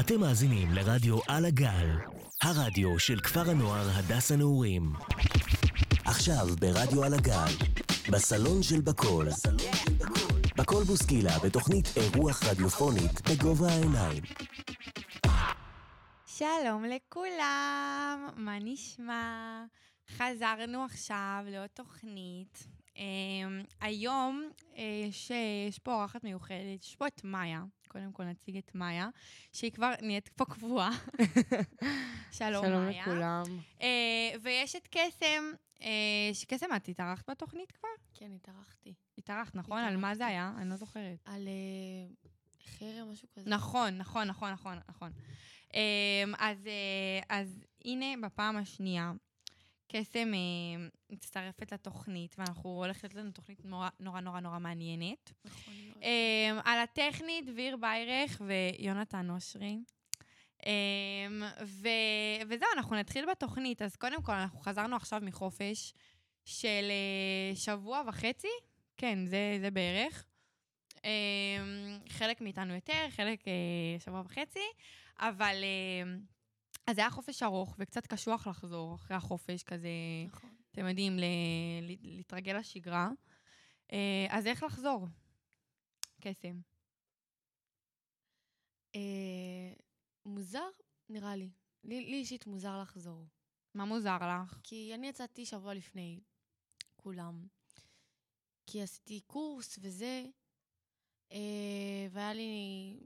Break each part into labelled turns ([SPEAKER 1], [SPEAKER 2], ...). [SPEAKER 1] אתם מאזינים לרדיו על הגל, הרדיו של כפר הנוער הדס הנעורים. עכשיו ברדיו על הגל, בסלון של בקול. בקול בוסקילה בתוכנית אירוח רדיופונית בגובה העיניים.
[SPEAKER 2] שלום לכולם, מה נשמע? חזרנו עכשיו לעוד תוכנית. אה, היום אה, יש, יש פה אורחת מיוחדת, יש פה את מאיה, קודם כל נציג את מאיה, שהיא כבר נהיית פה קבועה. שלום,
[SPEAKER 3] שלום
[SPEAKER 2] מאיה.
[SPEAKER 3] לכולם.
[SPEAKER 2] אה, ויש את קסם, אה, שקסם, את התארחת בתוכנית כבר?
[SPEAKER 4] כן, התארחתי.
[SPEAKER 2] התארחת, נכון? על מה זה היה? אני לא זוכרת.
[SPEAKER 4] על אה, חרם, משהו כזה.
[SPEAKER 2] נכון, נכון, נכון, נכון, נכון. אמ, אז, אה, אז הנה, בפעם השנייה, קסם אה, מצטרפת לתוכנית, ואנחנו הולכת לתת לנו תוכנית נורא נורא נורא, נורא מעניינת.
[SPEAKER 4] נכון מאוד.
[SPEAKER 2] אמ, על הטכנית, דביר ביירך ויונתן אושרי. אמ, ו- וזהו, אנחנו נתחיל בתוכנית. אז קודם כל, אנחנו חזרנו עכשיו מחופש של אה, שבוע וחצי, כן, זה, זה בערך. אמ, חלק מאיתנו יותר, חלק אה, שבוע וחצי, אבל... אמ, אז זה היה חופש ארוך וקצת קשוח לחזור אחרי החופש, כזה...
[SPEAKER 4] נכון.
[SPEAKER 2] אתם יודעים, ל- ל- להתרגל לשגרה. אה, אז איך לחזור? קסם.
[SPEAKER 4] אה, מוזר, נראה לי. לי לי אישית מוזר לחזור.
[SPEAKER 2] מה מוזר לך?
[SPEAKER 4] כי אני יצאתי שבוע לפני כולם. כי עשיתי קורס וזה, אה, והיה לי,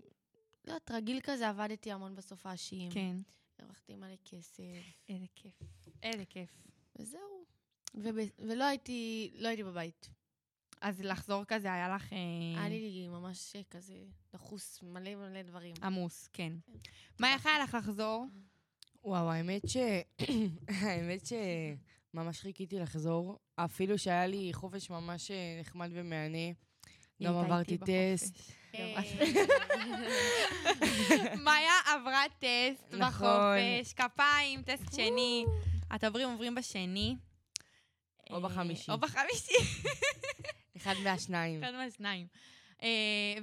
[SPEAKER 4] לא יודעת, רגיל כזה, עבדתי המון בסופאשים.
[SPEAKER 2] כן.
[SPEAKER 4] הרווחתי מלא כסף,
[SPEAKER 2] איזה כיף. איזה כיף.
[SPEAKER 4] וזהו. וב- ולא הייתי, לא הייתי בבית.
[SPEAKER 2] אז לחזור כזה היה לך אה,
[SPEAKER 4] היה לי ממש אה, כזה דחוס, מלא מלא דברים.
[SPEAKER 2] עמוס, כן. מה איך היה לך לחזור?
[SPEAKER 3] וואו, האמת ש... האמת שממש חיכיתי לחזור, אפילו שהיה לי חופש ממש אה, נחמד ומהנה. גם
[SPEAKER 2] היא הייתה
[SPEAKER 3] עברתי
[SPEAKER 2] איתי בחופש.
[SPEAKER 3] טסט.
[SPEAKER 4] אה,
[SPEAKER 2] לא, מאיה עברה טסט
[SPEAKER 3] נכון.
[SPEAKER 2] בחופש, כפיים, טסט שני. התברים עוברים בשני.
[SPEAKER 3] או
[SPEAKER 2] אה,
[SPEAKER 3] בחמישי.
[SPEAKER 2] או בחמישי,
[SPEAKER 3] אחד מהשניים.
[SPEAKER 2] אחד מהשניים. אה,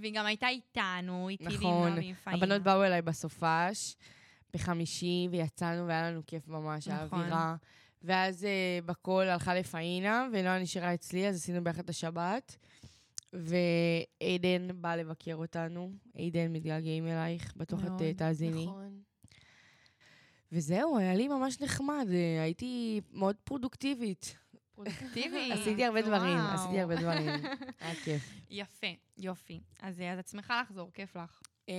[SPEAKER 2] והיא גם הייתה איתנו, איתי
[SPEAKER 3] נכון.
[SPEAKER 2] ועם נועה ועם פאינה.
[SPEAKER 3] הבנות באו אליי בסופש, בחמישי, ויצאנו, והיה לנו כיף ממש, היה
[SPEAKER 2] נכון.
[SPEAKER 3] אווירה. ואז אה, בכל הלכה לפאינה, ונועה נשארה אצלי, אז עשינו ביחד את השבת. ועדן בא לבקר אותנו. עדן, מתגעגעים אלייך, בטוח את
[SPEAKER 2] מאוד,
[SPEAKER 3] אה, תאזיני.
[SPEAKER 4] נכון.
[SPEAKER 3] וזהו, היה לי ממש נחמד, אה, הייתי מאוד פרודוקטיבית.
[SPEAKER 2] פרודוקטיבי.
[SPEAKER 3] עשיתי הרבה דברים,
[SPEAKER 2] וואו.
[SPEAKER 3] עשיתי הרבה דברים. היה כיף.
[SPEAKER 2] יפה, יופי. אז אה, אז את שמחה לחזור, כיף לך.
[SPEAKER 3] אמ,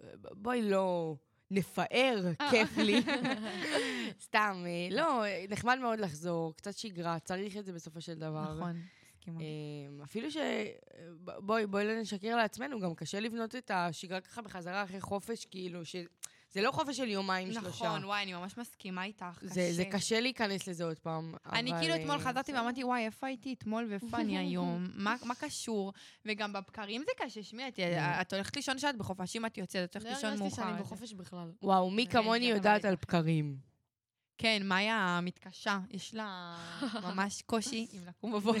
[SPEAKER 3] ב- בואי לא נפאר, כיף לי. סתם, אה, לא, אה, נחמד מאוד לחזור, קצת שגרה, צריך את זה בסופו של דבר.
[SPEAKER 2] נכון, מסכימה.
[SPEAKER 3] אמ, אפילו ש... ב- בואי, בואי לא נשקר לעצמנו, גם קשה לבנות את השגרה ככה בחזרה אחרי חופש, כאילו, ש... זה לא חופש של יומיים, שלושה.
[SPEAKER 2] נכון, וואי, אני ממש מסכימה איתך.
[SPEAKER 3] זה, זה קשה להיכנס לזה עוד פעם.
[SPEAKER 2] אני
[SPEAKER 3] אבל,
[SPEAKER 2] כאילו
[SPEAKER 3] אה,
[SPEAKER 2] אתמול חזרתי ואמרתי, וואי, איפה הייתי אתמול ואיפה אני היום? מה מה קשור? וגם בבקרים זה קשה, שמי, את-
[SPEAKER 3] כן.
[SPEAKER 2] את הולכת לישון שעת בחופשים, את יוצאת, את הולכת לישון
[SPEAKER 4] לא הרגשתי
[SPEAKER 2] מאוחר.
[SPEAKER 4] שאני
[SPEAKER 2] יותר.
[SPEAKER 4] בחופש בכלל.
[SPEAKER 3] וואו, מי
[SPEAKER 2] כן,
[SPEAKER 3] כמוני
[SPEAKER 2] כן, אבל
[SPEAKER 3] יודעת
[SPEAKER 2] הייתה
[SPEAKER 3] על בקרים.
[SPEAKER 2] כן, מאיה מתקשה, יש לה ממש קושי עם לקום בבוקר.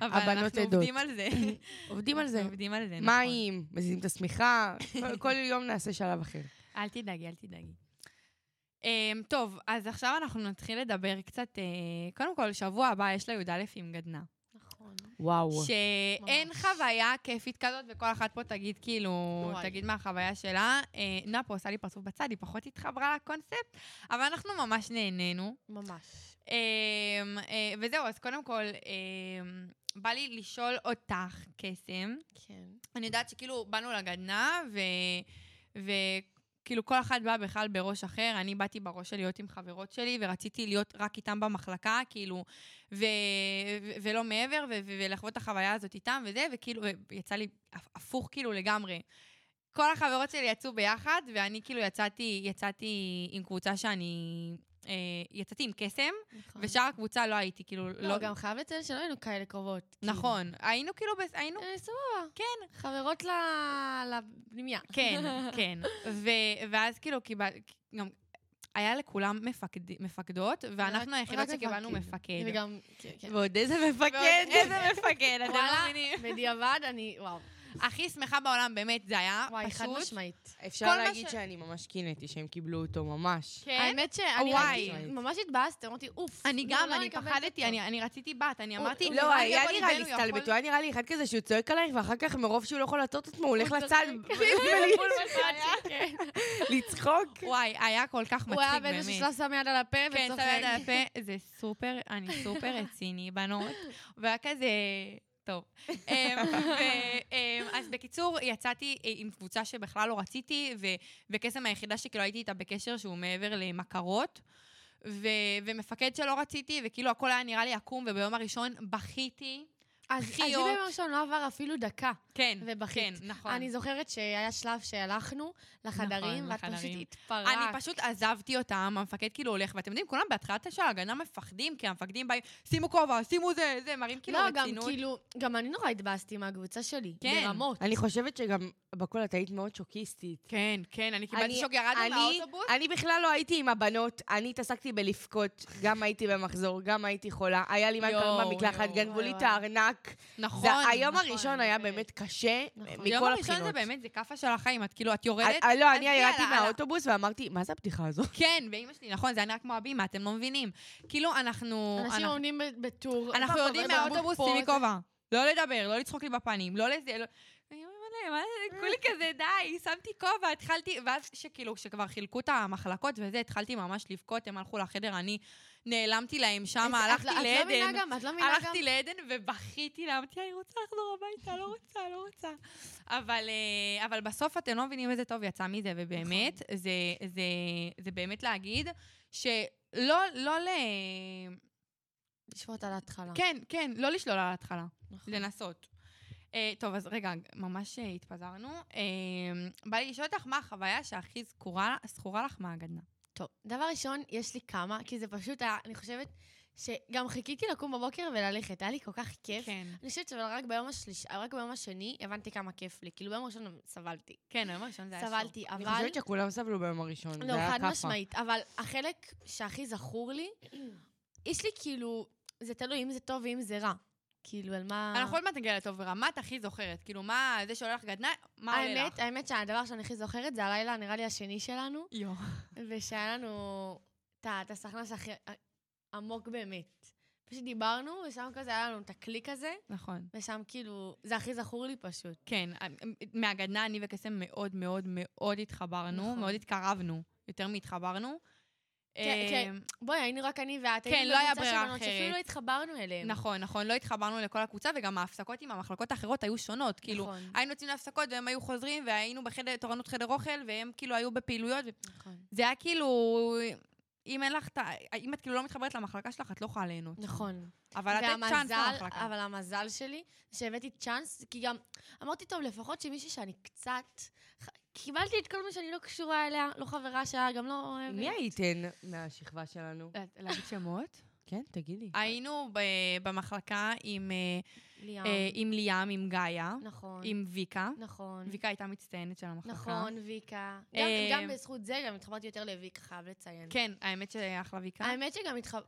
[SPEAKER 2] אבל
[SPEAKER 3] הבנות
[SPEAKER 2] אנחנו
[SPEAKER 3] עדות.
[SPEAKER 2] עובדים על זה.
[SPEAKER 3] עובדים על זה.
[SPEAKER 2] אנחנו עובדים על זה, נכון.
[SPEAKER 3] מים, מזיזים את השמיכה, כל- כל יום נעשה שלב אחר.
[SPEAKER 2] אל תדאגי, אל תדאגי. Um, טוב, אז עכשיו אנחנו נתחיל לדבר קצת, uh, קודם כל, שבוע הבא יש לה י"א עם גדנה.
[SPEAKER 4] נכון.
[SPEAKER 3] וואו.
[SPEAKER 2] שאין
[SPEAKER 4] ממש.
[SPEAKER 2] חוויה כיפית כזאת, וכל אחת פה תגיד כאילו,
[SPEAKER 4] וואי.
[SPEAKER 2] תגיד מה החוויה שלה. Uh, נועה פה עושה לי פרצוף בצד, היא פחות התחברה לקונספט, אבל אנחנו ממש נהנינו.
[SPEAKER 4] ממש.
[SPEAKER 2] Um, uh, וזהו, אז קודם כל, um, בא לי לשאול אותך, קסם.
[SPEAKER 4] כן.
[SPEAKER 2] אני יודעת שכאילו באנו לגדנה, ו... וכאילו כל אחת באה בכלל בראש אחר. אני באתי בראש של להיות עם חברות שלי, ורציתי להיות רק איתם במחלקה, כאילו, ו... ו... ולא מעבר, ו... ו- ולחוות את החוויה הזאת איתם וזה, וכאילו, יצא לי הפ- הפוך כאילו לגמרי. כל החברות שלי יצאו ביחד, ואני כאילו יצאתי, יצאתי עם קבוצה שאני... אה, יצאתי עם קסם,
[SPEAKER 4] נכון.
[SPEAKER 2] ושאר הקבוצה לא הייתי, כאילו,
[SPEAKER 4] לא, גם חייב לציין שלא היינו כאלה קרובות.
[SPEAKER 2] נכון, היינו כאילו, בס- היינו
[SPEAKER 4] כאילו. אה, סבבה. כן. חברות ל- לפנימיה.
[SPEAKER 2] כן, כן. ו- ואז כאילו קיבלתי, גם היה לכולם מפקד- מפקדות, ואנחנו
[SPEAKER 4] רק-
[SPEAKER 2] היחידות
[SPEAKER 4] רק
[SPEAKER 2] שקיבלנו מפקד.
[SPEAKER 4] מפקד. וגם, כן, כן.
[SPEAKER 3] ועוד איזה
[SPEAKER 2] ועוד
[SPEAKER 3] מפקד.
[SPEAKER 2] איזה מפקד, אתם לא
[SPEAKER 4] וואלה,
[SPEAKER 2] מבינים.
[SPEAKER 4] בדיעבד אני, וואו.
[SPEAKER 2] הכי שמחה בעולם, באמת, זה היה
[SPEAKER 4] וואי, חד
[SPEAKER 2] פשוט.
[SPEAKER 4] משמעית.
[SPEAKER 3] אפשר
[SPEAKER 2] כל מה
[SPEAKER 3] להגיד
[SPEAKER 2] ש-
[SPEAKER 3] שאני ממש קינאתי שהם קיבלו אותו ממש.
[SPEAKER 2] כן?
[SPEAKER 4] האמת שאני
[SPEAKER 2] וואי.
[SPEAKER 4] ראיתי- ממש התבאסתם, אמרתי, אוף.
[SPEAKER 2] אני
[SPEAKER 4] לא,
[SPEAKER 2] גם,
[SPEAKER 4] לא
[SPEAKER 2] אני
[SPEAKER 4] אקבל את
[SPEAKER 2] פחדתי,
[SPEAKER 4] זה."
[SPEAKER 2] אני אני רציתי בת, אני
[SPEAKER 4] הוא-
[SPEAKER 2] אמרתי...
[SPEAKER 4] הוא
[SPEAKER 3] לא, היה
[SPEAKER 2] יבוא
[SPEAKER 3] נראה לי
[SPEAKER 2] ליבנו, הוא יכול-
[SPEAKER 3] הסתלבטו, היה נראה לי אחד כזה שהוא צועק עלייך, ואחר כך מרוב שהוא לא יכול לעצור את עצמו, הוא הולך
[SPEAKER 4] הוא
[SPEAKER 3] לצד
[SPEAKER 4] צוחק.
[SPEAKER 3] ול-
[SPEAKER 2] כן,
[SPEAKER 4] בול מה שהיה.
[SPEAKER 3] לצחוק.
[SPEAKER 2] וואי, היה כל כך מצחיק,
[SPEAKER 4] הוא היה באיזה
[SPEAKER 2] באמת.
[SPEAKER 4] ששלה שם יד על הפה
[SPEAKER 2] כן,
[SPEAKER 4] וצוחק.
[SPEAKER 2] שם יד על הפה, זה סופר, אני סופר רציני, בנות, והיה כזה... טוב. אמ, ו- אמ, אז בקיצור, יצאתי אה, עם קבוצה שבכלל לא רציתי, ו- וקסם היחידה שכאילו הייתי איתה בקשר שהוא מעבר למכרות, ו- ומפקד שלא רציתי, וכאילו הכל היה נראה לי עקום, וביום הראשון בכיתי.
[SPEAKER 4] אז אז לי
[SPEAKER 2] חיות.
[SPEAKER 4] ביום הראשון לא עבר אפילו דקה.
[SPEAKER 2] כן,
[SPEAKER 4] ובכית.
[SPEAKER 2] כן, נכון.
[SPEAKER 4] אני זוכרת שהיה שלב שהלכנו לחדרים,
[SPEAKER 2] נכון,
[SPEAKER 4] ואת פשוט
[SPEAKER 2] לחדרים.
[SPEAKER 4] התפרעת.
[SPEAKER 2] אני פשוט עזבתי אותם, המפקד כאילו הולך, ואתם יודעים, כולם בהתחלת השעה, הגנה מפחדים, כי המפקדים באים, שימו כובע, שימו זה, זה, מראים כאילו
[SPEAKER 4] לא, גם
[SPEAKER 2] רצינות.
[SPEAKER 4] כאילו, גם אני נורא התבאסתי מהקבוצה שלי.
[SPEAKER 2] כן.
[SPEAKER 4] ברמות.
[SPEAKER 3] אני חושבת שגם בכל את היית מאוד שוקיסטית.
[SPEAKER 2] כן, כן, אני
[SPEAKER 3] אני-
[SPEAKER 2] קיבלתי שוק, ירדנו
[SPEAKER 3] אני-
[SPEAKER 2] מהאוטובוס.
[SPEAKER 3] אני בכלל לא הייתי עם הבנות, אני התעסקתי בלבכות. גם הייתי במחזור, גם הייתי חולה. היה לי מה
[SPEAKER 2] יואו,
[SPEAKER 3] קרה במקלחת,
[SPEAKER 2] יואו,
[SPEAKER 3] גנבו לי
[SPEAKER 4] וואי,
[SPEAKER 3] את הארנק.
[SPEAKER 2] נכון,
[SPEAKER 3] זה-
[SPEAKER 2] נכון.
[SPEAKER 3] היום הראשון היה
[SPEAKER 2] באמת.
[SPEAKER 3] באמת קשה,
[SPEAKER 4] נכון.
[SPEAKER 3] מכל
[SPEAKER 2] היום
[SPEAKER 3] הבחינות.
[SPEAKER 2] הראשון זה באמת, זה כאפה של החיים, את כאילו, את יורדת.
[SPEAKER 3] אה, לא,
[SPEAKER 2] אז
[SPEAKER 3] אני
[SPEAKER 2] יאללה,
[SPEAKER 3] ירדתי
[SPEAKER 2] הלאה.
[SPEAKER 3] מהאוטובוס ואמרתי, מה זה הבדיחה הזו?
[SPEAKER 2] כן, ואימא שלי, נכון, זה היה נראה כמו הבימה, אתם לא מבינים. כאילו, אנחנו...
[SPEAKER 4] אנשים
[SPEAKER 2] אנחנו-
[SPEAKER 4] עונים ב- בטור. לא,
[SPEAKER 2] אנחנו
[SPEAKER 4] בבקבוק
[SPEAKER 2] יודעים
[SPEAKER 4] פה,
[SPEAKER 2] מהאוטובוס,
[SPEAKER 4] זה-
[SPEAKER 2] שימי כובע. לא לדבר, לא לצחוק לי בפנים, לא לזה, לא... אני אומרת להם, מה זה, כולי
[SPEAKER 3] אה.
[SPEAKER 2] כזה, די, שמתי כובע, התחלתי, ואז שכאילו, כשכבר חילקו את המחלקות וזה, התחלתי ממש לבכות, הם הלכו לחדר, אני נעלמתי להם שם,
[SPEAKER 4] את-
[SPEAKER 2] הלכתי
[SPEAKER 4] את לא מבינה
[SPEAKER 2] לעדן.
[SPEAKER 4] גם, את לא מבינה גם.
[SPEAKER 2] הלכתי לעדן ובכיתי לה, אמרתי, אני רוצה לחזור הביתה, לא רוצה, לא רוצה. אבל, אה, אבל בסוף אתם לא מבינים איזה טוב יצא מזה, ובאמת,
[SPEAKER 4] נכון.
[SPEAKER 2] זה, זה, זה באמת להגיד שלא לא ל...
[SPEAKER 4] לשפוט על ההתחלה.
[SPEAKER 2] כן, כן, לא לשלול על ההתחלה,
[SPEAKER 4] אה. נכון.
[SPEAKER 2] לנסות. אה, טוב, אז רגע, ממש אה, התפזרנו. אה, בא לי לשאול אותך מה החוויה שהכי זכורה זכורה לך מהגדנה.
[SPEAKER 4] טוב, דבר ראשון, יש לי כמה, כי זה פשוט היה, אני חושבת שגם חיכיתי לקום בבוקר וללכת, היה לי כל כך כיף.
[SPEAKER 2] כן.
[SPEAKER 4] אני חושבת אבל רק ביום השליש... רק ביום השני הבנתי כמה כיף לי. כאילו ביום הראשון סבלתי.
[SPEAKER 2] כן, היום הראשון זה היה שוב.
[SPEAKER 4] סבלתי, אבל...
[SPEAKER 3] אני חושבת שכולם סבלו ביום הראשון.
[SPEAKER 4] לא, חד משמעית. אבל החלק שהכי זכור לי, יש לי כאילו, זה תלוי אם זה טוב ואם זה רע. כאילו, על מה...
[SPEAKER 2] אנחנו עוד מעט נגיע לטוב ורע, מה את הכי זוכרת? כאילו, מה זה שעולה לך גדנה, מה עולה לך?
[SPEAKER 4] האמת, האמת שהדבר שאני הכי זוכרת זה הלילה, נראה לי, השני שלנו,
[SPEAKER 2] יואו.
[SPEAKER 4] ושהיה לנו את ה- את הסכנה שהכי עמוק באמת. פשוט דיברנו, ושם כזה היה לנו את הקליק הזה,
[SPEAKER 2] נכון.
[SPEAKER 4] ושם כאילו, זה הכי זכור לי פשוט.
[SPEAKER 2] כן, מהגדנה אני וקסם מאוד מאוד מאוד התחברנו,
[SPEAKER 4] נכון.
[SPEAKER 2] מאוד התקרבנו, יותר מהתחברנו.
[SPEAKER 4] כן, כן. בואי, היינו רק אני ואת,
[SPEAKER 2] כן,
[SPEAKER 4] היינו
[SPEAKER 2] לא היה
[SPEAKER 4] בקבוצה של
[SPEAKER 2] ברירה
[SPEAKER 4] בנות
[SPEAKER 2] אחרת.
[SPEAKER 4] שאפילו לא התחברנו אליהן.
[SPEAKER 2] נכון, נכון, לא התחברנו לכל הקבוצה, וגם ההפסקות עם המחלקות האחרות היו שונות. כאילו,
[SPEAKER 4] נכון,
[SPEAKER 2] היינו יוצאים להפסקות והם היו חוזרים, והיינו בחדר, תורנות חדר אוכל, והם כאילו היו בפעילויות. ו-
[SPEAKER 4] נכון.
[SPEAKER 2] זה היה כאילו, אם אין לך את ה... אם את כאילו לא מתחברת למחלקה שלך, את לא יכולה ליהנות.
[SPEAKER 4] נכון.
[SPEAKER 2] אבל לתת צ'אנס לא
[SPEAKER 4] והמזל,
[SPEAKER 2] למחלקה.
[SPEAKER 4] אבל המזל שלי, זה שהבאתי צ'אנס, כי גם אמרתי, טוב, לפחות שמישהי שאני קצת... ח- קיבלתי את כל מה שאני לא קשורה אליה, לא חברה שלה, גם לא אוהבת. אה,
[SPEAKER 3] מי הייתן מהשכבה שלנו?
[SPEAKER 2] להגיד שמות?
[SPEAKER 3] כן, תגידי.
[SPEAKER 2] היינו ב- במחלקה עם, אה,
[SPEAKER 4] ליאם.
[SPEAKER 2] אה, עם ליאם, עם גאיה,
[SPEAKER 4] נכון.
[SPEAKER 2] עם ויקה.
[SPEAKER 4] נכון.
[SPEAKER 2] ויקה הייתה מצטיינת של המחלקה.
[SPEAKER 4] נכון, ויקה.
[SPEAKER 2] אה,
[SPEAKER 4] גם- גם בזכות זה, גם התחברתי יותר לויקה, חייב לציין.
[SPEAKER 2] כן, האמת שאחלה ויקה.
[SPEAKER 4] האמת שגם התחבר...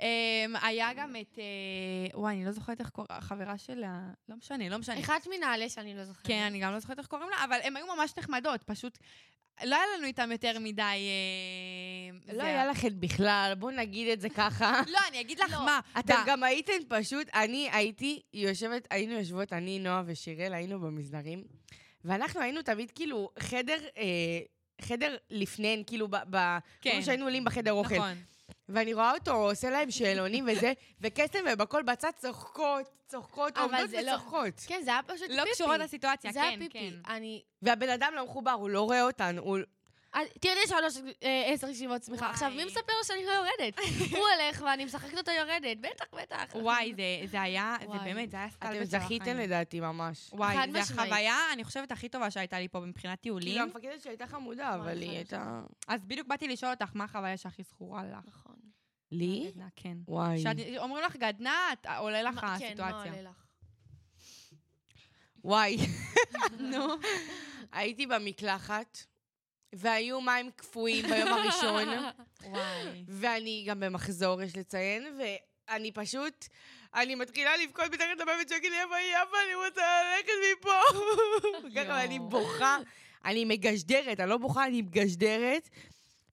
[SPEAKER 2] אמ, היה גם את... אה, וואי, אני לא זוכרת איך קוראים, החברה שלה... לא משנה, לא משנה.
[SPEAKER 4] אחת מנעלה שאני לא זוכרת.
[SPEAKER 2] כן, אני גם לא זוכרת איך קוראים לה, אבל הן היו ממש נחמדות, פשוט... לא היה לנו איתן יותר מדי... אה,
[SPEAKER 3] לא
[SPEAKER 2] זה-
[SPEAKER 3] היה לכן בכלל, בואו נגיד את זה ככה.
[SPEAKER 2] לא, אני אגיד לך
[SPEAKER 4] לא,
[SPEAKER 2] מה.
[SPEAKER 3] אתם
[SPEAKER 2] ב-
[SPEAKER 3] גם הייתן פשוט, אני הייתי יושבת, היינו יושבות, אני, נועה ושיראל, היינו במסדרים, ואנחנו היינו תמיד כאילו חדר, אה, חדר לפניהן, כאילו, ב... ב
[SPEAKER 2] כן.
[SPEAKER 3] כמו שהיינו עולים בחדר אוכל.
[SPEAKER 2] נכון.
[SPEAKER 3] ואני רואה אותו עושה להם שאלונים וזה, וקסם ובכל בצד צוחקות, צוחקות,
[SPEAKER 4] אבל
[SPEAKER 3] עומדות
[SPEAKER 4] זה לא-
[SPEAKER 3] וצוחקות.
[SPEAKER 4] כן, זה היה פשוט פיפי.
[SPEAKER 2] לא קשורות לסיטואציה,
[SPEAKER 4] זה היה
[SPEAKER 2] כן,
[SPEAKER 4] פיפי.
[SPEAKER 2] כן.
[SPEAKER 4] אני...
[SPEAKER 3] והבן אדם לא מחובר, הוא לא רואה אותנו, הוא...
[SPEAKER 4] אז תרדי שלוש, אה, עשר ישיבות צמיחה.
[SPEAKER 2] וואי.
[SPEAKER 4] עכשיו, מי מספר לו שאני לא יורדת? הוא הולך ואני משחקת אותו יורדת. בטח, בטח.
[SPEAKER 2] וואי, זה- זה היה, זה
[SPEAKER 4] וואי.
[SPEAKER 2] באמת, זה היה סטלבט של
[SPEAKER 3] אתם
[SPEAKER 2] החיים.
[SPEAKER 3] זכיתם לדעתי ממש.
[SPEAKER 2] וואי,
[SPEAKER 4] חד
[SPEAKER 2] זו
[SPEAKER 4] משמעית.
[SPEAKER 2] החוויה, אני חושבת, הכי טובה שהייתה לי פה מבחינת
[SPEAKER 3] כאילו,
[SPEAKER 2] טיולים.
[SPEAKER 3] המפקדת שלי הייתה חמודה,
[SPEAKER 4] וואי,
[SPEAKER 3] אבל היא
[SPEAKER 4] חד
[SPEAKER 3] הייתה...
[SPEAKER 2] אז בדיוק באתי לשאול אותך, מה החוויה שהכי זכורה לך?
[SPEAKER 4] נכון.
[SPEAKER 3] לי?
[SPEAKER 2] גדנה, כן.
[SPEAKER 3] וואי.
[SPEAKER 2] שאת- אומרים לך גדנה, את- אה, עולה לך
[SPEAKER 4] מה- כן, מה
[SPEAKER 2] הסיטואציה.
[SPEAKER 4] עולה לך?
[SPEAKER 3] וואי.
[SPEAKER 2] נו.
[SPEAKER 3] הייתי במקלחת, והיו מים קפואים ביום הראשון,
[SPEAKER 2] וואי.
[SPEAKER 3] ואני גם במחזור, יש לציין, אני פשוט, אני מתחילה לבכות מתחת לבבת צועקת לי, יפה, יפה, אני רוצה ללכת מפה. ככה,
[SPEAKER 4] יואו.
[SPEAKER 3] אני בוכה, אני מגשדרת, אני לא בוכה, אני מגשדרת.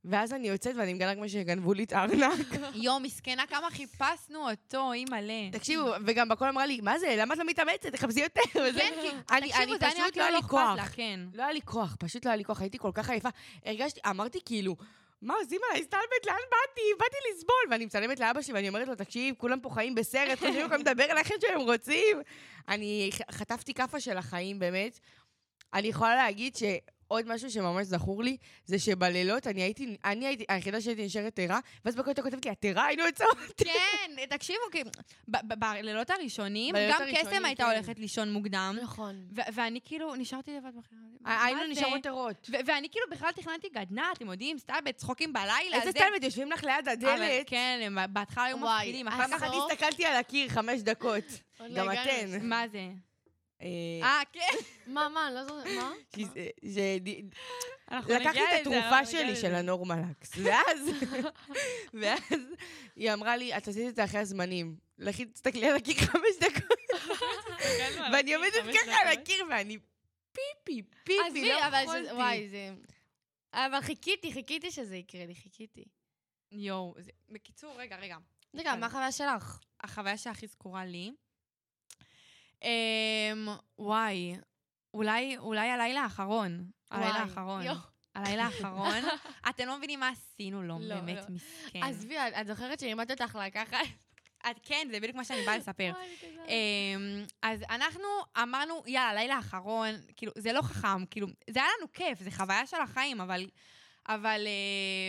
[SPEAKER 3] ואז אני יוצאת ואני מגלה כמו שגנבו לי את הארנק.
[SPEAKER 2] יו, מסכנה, כמה חיפשנו אותו, אימא'לה.
[SPEAKER 3] תקשיבו, וגם בכל אמרה לי, מה זה, למה את לא מתאמצת? תחפשי יותר. וזה-
[SPEAKER 2] כן, כי
[SPEAKER 3] אני-
[SPEAKER 2] תקשיבו,
[SPEAKER 3] אני
[SPEAKER 2] זה היה נראה
[SPEAKER 3] פשוט
[SPEAKER 2] כאילו
[SPEAKER 3] לא
[SPEAKER 2] לא
[SPEAKER 3] לי
[SPEAKER 2] אכפת
[SPEAKER 3] כוח.
[SPEAKER 2] לה, כן.
[SPEAKER 3] לא היה לי כוח, פשוט לא היה לי כוח, הייתי כל כך עייפה. הרגשתי, אמרתי כאילו, מה עושים עליי? הסתלבט, לאן באתי? באתי לסבול. ואני מצלמת לאבא שלי ואני אומרת לו, תקשיב, כולם פה חיים בסרט, חושבים יכולים לדבר על איך שהם רוצים. אני ח- חטפתי כאפה של החיים, באמת. אני יכולה להגיד שעוד משהו שממש זכור לי, זה שבלילות אני הייתי, אני הייתי, היחידה שהייתי נשארת ערה, ואז בכל הייתה כותבת לי, את ערה, היינו יוצאות.
[SPEAKER 2] כן, תקשיבו, כי ב- ב- בלילות הראשונים,
[SPEAKER 3] בלילות
[SPEAKER 2] גם
[SPEAKER 3] הראשונים,
[SPEAKER 2] קסם הייתה
[SPEAKER 3] כן.
[SPEAKER 2] הולכת לישון מוקדם,
[SPEAKER 4] נכון.
[SPEAKER 2] ו- ואני כאילו נשארתי לבד בחדר. מה
[SPEAKER 3] היינו
[SPEAKER 2] זה?
[SPEAKER 3] נשארות ערות.
[SPEAKER 2] ו- ואני כאילו בכלל תכננתי גדנ"ע, אתם יודעים, סטלבט, צחוקים בלילה.
[SPEAKER 3] איזה
[SPEAKER 2] זה-
[SPEAKER 3] סתלבט, יושבים לך ליד
[SPEAKER 2] אבל
[SPEAKER 3] הדלת.
[SPEAKER 2] כן, הם בהתחלה היו
[SPEAKER 4] וואי,
[SPEAKER 2] מפחידים, אחר
[SPEAKER 3] פעם
[SPEAKER 2] כך...
[SPEAKER 3] אחת הסתכלתי על הקיר חמש דקות.
[SPEAKER 4] עוד לא
[SPEAKER 3] גם
[SPEAKER 4] הגענו
[SPEAKER 3] אתן.
[SPEAKER 4] לשם.
[SPEAKER 2] מה זה?
[SPEAKER 3] אה,
[SPEAKER 2] אה, כן.
[SPEAKER 4] מה, מה, אני לא זוכרת, מה?
[SPEAKER 3] שזה- שזה- לקחתי את התרופה שלי, של הנורמלקס, ואז, ואז היא אמרה לי, את עשית את זה אחרי הזמנים. לכי תסתכלי על הקיר חמש דקות, ואני עומדת ככה על הקיר, ואני פיפי, פיפי,
[SPEAKER 4] עזבי,
[SPEAKER 3] לא
[SPEAKER 4] אבל
[SPEAKER 3] יכולתי.
[SPEAKER 4] זה- וואי, זה... אבל חיכיתי, חיכיתי שזה יקרה לי, חיכיתי. כן.
[SPEAKER 2] יואו, זה- בקיצור, רגע, רגע.
[SPEAKER 4] רגע, מה החוויה שלך?
[SPEAKER 2] החוויה שהכי זכורה לי. אמ, וואי, אולי, אולי הלילה האחרון. הלילה
[SPEAKER 4] וואי,
[SPEAKER 2] האחרון.
[SPEAKER 4] יואו.
[SPEAKER 2] הלילה האחרון. אתם לא מבינים מה עשינו לו,
[SPEAKER 4] לא,
[SPEAKER 2] באמת
[SPEAKER 4] לא.
[SPEAKER 2] מסכן.
[SPEAKER 4] עזבי, את- את זוכרת שלימדת אותך לקחת?
[SPEAKER 2] את- כן, זה בדיוק מה שאני באה לספר.
[SPEAKER 4] וואי, תודה.
[SPEAKER 2] אמ, אז אנחנו אמרנו, יאללה, הלילה האחרון, כאילו, זה לא חכם, כאילו, זה היה לנו כיף, זה חוויה של החיים, אבל... אבל...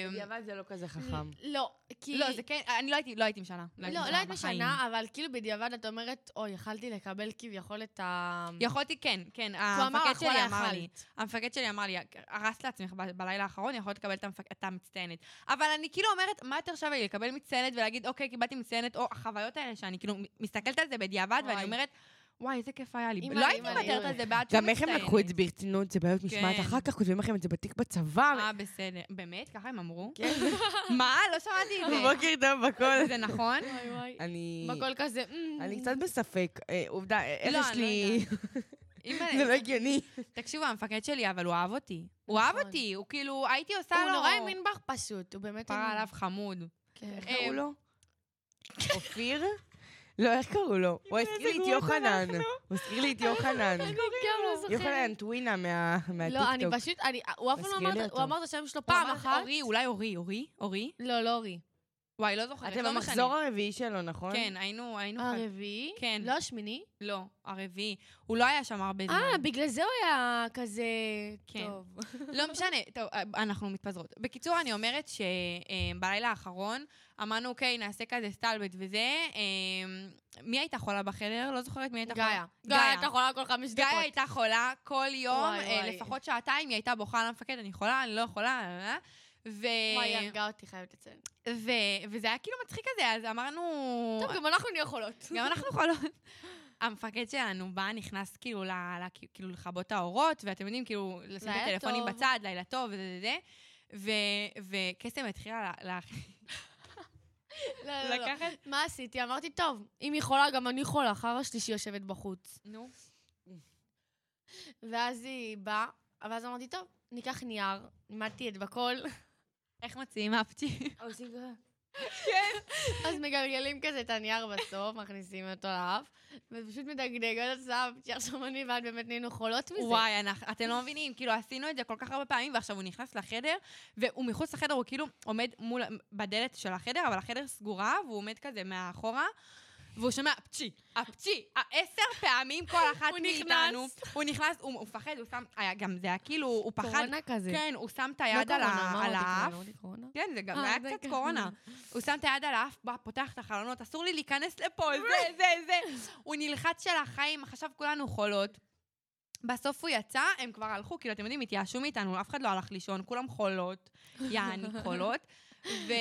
[SPEAKER 2] אמ,
[SPEAKER 3] בדיעבד זה לא כזה חכם.
[SPEAKER 4] לא, כי...
[SPEAKER 2] לא, זה כן, אני לא הייתי, לא הייתי משנה.
[SPEAKER 4] לא, לא היית משנה, אבל כאילו בדיעבד את אומרת, אוי, יכלתי לקבל כביכול את ה...
[SPEAKER 2] יכולתי, כן, כן,
[SPEAKER 4] הוא אמר,
[SPEAKER 2] המפקד
[SPEAKER 4] "הכל
[SPEAKER 2] שלי אמר
[SPEAKER 4] יכלת".
[SPEAKER 2] לי. המפקד שלי אמר לי, הרסת לעצמך ב- בלילה האחרון, יכולת לקבל את המפק- את המצטיינת. אבל אני כאילו אומרת, מה יותר שווה לי, לקבל מצטיינת ולהגיד, אוקיי, קיבלתי מצטיינת, או החוויות האלה שאני כאילו מסתכלת על זה בדיעבד,
[SPEAKER 4] וואי.
[SPEAKER 2] ואני אומרת, וואי, איזה כיף היה לי.
[SPEAKER 4] אימא,
[SPEAKER 2] לא הייתי
[SPEAKER 4] אימא,
[SPEAKER 2] מוותרת
[SPEAKER 4] אימא.
[SPEAKER 2] על זה בעד שום
[SPEAKER 3] גם
[SPEAKER 2] מצטיינת.
[SPEAKER 3] איך הם לקחו את זה ברצינות, זה בעיות משמעת.
[SPEAKER 2] כן.
[SPEAKER 3] אחר כך כותבים לכם את זה בתיק בצבא.
[SPEAKER 2] אה, בסדר. באמת? ככה הם אמרו? כן. מה? לא שמעתי את זה.
[SPEAKER 3] בוקר טוב, בכל.
[SPEAKER 2] זה נכון?
[SPEAKER 4] וואי וואי.
[SPEAKER 3] אני...
[SPEAKER 4] בקול כזה... "אמ".
[SPEAKER 3] אני קצת בספק. אה, עובדה, אה, איך
[SPEAKER 2] לא,
[SPEAKER 3] יש
[SPEAKER 2] אני לא
[SPEAKER 3] לי...
[SPEAKER 2] אימא,
[SPEAKER 3] זה לא הגיוני.
[SPEAKER 2] תקשיבו, המפקד שלי, אבל הוא אהב אותי. הוא אהב
[SPEAKER 4] נכון.
[SPEAKER 2] אותי, הוא כאילו, הייתי עושה לו...
[SPEAKER 4] לא, הוא נורא האמין בך פשוט, הוא באמת
[SPEAKER 2] פרה
[SPEAKER 4] האמין.
[SPEAKER 2] עליו חמוד.
[SPEAKER 4] כן.
[SPEAKER 3] איך קראו לו? אופיר? לא, איך קראו לו? הוא הזכיר לי את יוחנן. הוא הזכיר לי את יוחנן.
[SPEAKER 4] גם לא זוכרת.
[SPEAKER 3] יוחנן טווינה מה-
[SPEAKER 4] לא, אני
[SPEAKER 3] מהטיקטוק.
[SPEAKER 4] פשוט, אני- הוא אף פעם לא
[SPEAKER 3] מזכיר לי
[SPEAKER 4] אמר,
[SPEAKER 3] אותו.
[SPEAKER 4] הוא אמר את השם שלו
[SPEAKER 2] פעם
[SPEAKER 4] פעם
[SPEAKER 2] אחת.
[SPEAKER 4] אחת.
[SPEAKER 2] אורי, אולי אורי, אורי? אורי?
[SPEAKER 4] לא, לא אורי.
[SPEAKER 2] וואי, לא זוכרת.
[SPEAKER 3] אתם
[SPEAKER 2] לא משנה.
[SPEAKER 3] במחזור הרביעי שלו, נכון?
[SPEAKER 2] כן, היינו, היינו... חד-
[SPEAKER 4] הרביעי?
[SPEAKER 2] כן.
[SPEAKER 4] לא השמיני?
[SPEAKER 2] לא, הרביעי. הוא לא היה שם הרבה זמן.
[SPEAKER 4] אה, בגלל זה הוא היה כזה...
[SPEAKER 2] כן.
[SPEAKER 4] טוב.
[SPEAKER 2] לא משנה, טוב, אנחנו מתפזרות. בקיצור, אני אומרת שבלילה האחרון אמרנו, אוקיי, נעשה כזה סטלבט וזה. אה, מי הייתה חולה בחדר? לא זוכרת מי הייתה
[SPEAKER 4] גיא.
[SPEAKER 2] חולה.
[SPEAKER 4] גיא, אתה יכולה כל חמש
[SPEAKER 2] גיא
[SPEAKER 4] דקות.
[SPEAKER 2] הייתה חולה כל יום,
[SPEAKER 4] וואי,
[SPEAKER 2] אה,
[SPEAKER 4] וואי.
[SPEAKER 2] לפחות שעתיים, היא הייתה בוכה למפקד, אני חולה, אני לא יכולה, אה, אה, אה." ו...
[SPEAKER 4] וואי, היא הרגה אותי, חייבת לציין.
[SPEAKER 2] ו... וזה היה כאילו מצחיק כזה, אז אמרנו...
[SPEAKER 4] טוב, גם אנחנו נהיה חולות.
[SPEAKER 2] גם אנחנו חולות. המפקד שלנו בא, נכנס כאילו, ל, ל, כאילו לכבות את האורות, ואתם יודעים, כאילו, לשים את
[SPEAKER 4] לילה
[SPEAKER 2] הטלפונים
[SPEAKER 4] טוב.
[SPEAKER 2] בצד, לילה טוב וזה זה זה. ו- וקסם התחילה ל- ל-
[SPEAKER 4] לא, לא, לא.
[SPEAKER 2] לקחת...
[SPEAKER 4] מה עשיתי? אמרתי, טוב, אם היא חולה, גם אני חולה, חרא שלי שהיא יושבת בחוץ.
[SPEAKER 2] נו.
[SPEAKER 4] ואז היא באה, ואז אמרתי, טוב, ניקח נייר, לימדתי את בכל,
[SPEAKER 2] Oh, איך מוציאים אפצ'י?
[SPEAKER 4] כן. אז מגלגלים כזה את הנייר בסוף, מכניסים אותו לאף, ופשוט מדגדגות את הסף, שעכשיו אני ואת באמת נהיינו חולות מזה.
[SPEAKER 2] וואי, אנחנו- אתם לא מבינים, כאילו, עשינו את זה כל כך הרבה פעמים, ועכשיו הוא נכנס לחדר, והוא מחוץ לחדר, הוא כאילו עומד מול, בדלת של החדר, אבל החדר סגורה, והוא עומד כזה מאחורה, והוא שומע פצ'י, הפצ'י, עשר פעמים כל אחת
[SPEAKER 4] הוא
[SPEAKER 2] מאיתנו. הוא נכנס, הוא הוא מפחד, הוא שם, היה- גם זה היה כאילו, הוא פחד.
[SPEAKER 4] קורונה כזה.
[SPEAKER 2] כן, הוא שם את
[SPEAKER 4] לא
[SPEAKER 2] היד על
[SPEAKER 4] קורונה, לא,
[SPEAKER 2] ה-
[SPEAKER 4] מה
[SPEAKER 2] על
[SPEAKER 4] אמרתי,
[SPEAKER 2] האף.
[SPEAKER 4] קורונה? אמרתי קורונה?
[SPEAKER 2] כן, זה גם
[SPEAKER 4] אה,
[SPEAKER 2] היה
[SPEAKER 4] זה
[SPEAKER 2] קצת
[SPEAKER 4] גם.
[SPEAKER 2] קורונה. הוא שם את היד על האף, בא, פותח את החלונות, אסור לי להיכנס לפה, זה, זה, זה. הוא נלחץ של החיים, עכשיו כולנו חולות. בסוף הוא יצא, הם כבר הלכו, כאילו, אתם יודעים, התייאשו מאיתנו, אף אחד לא הלך לישון, כולם חולות, יעני חולות. ו...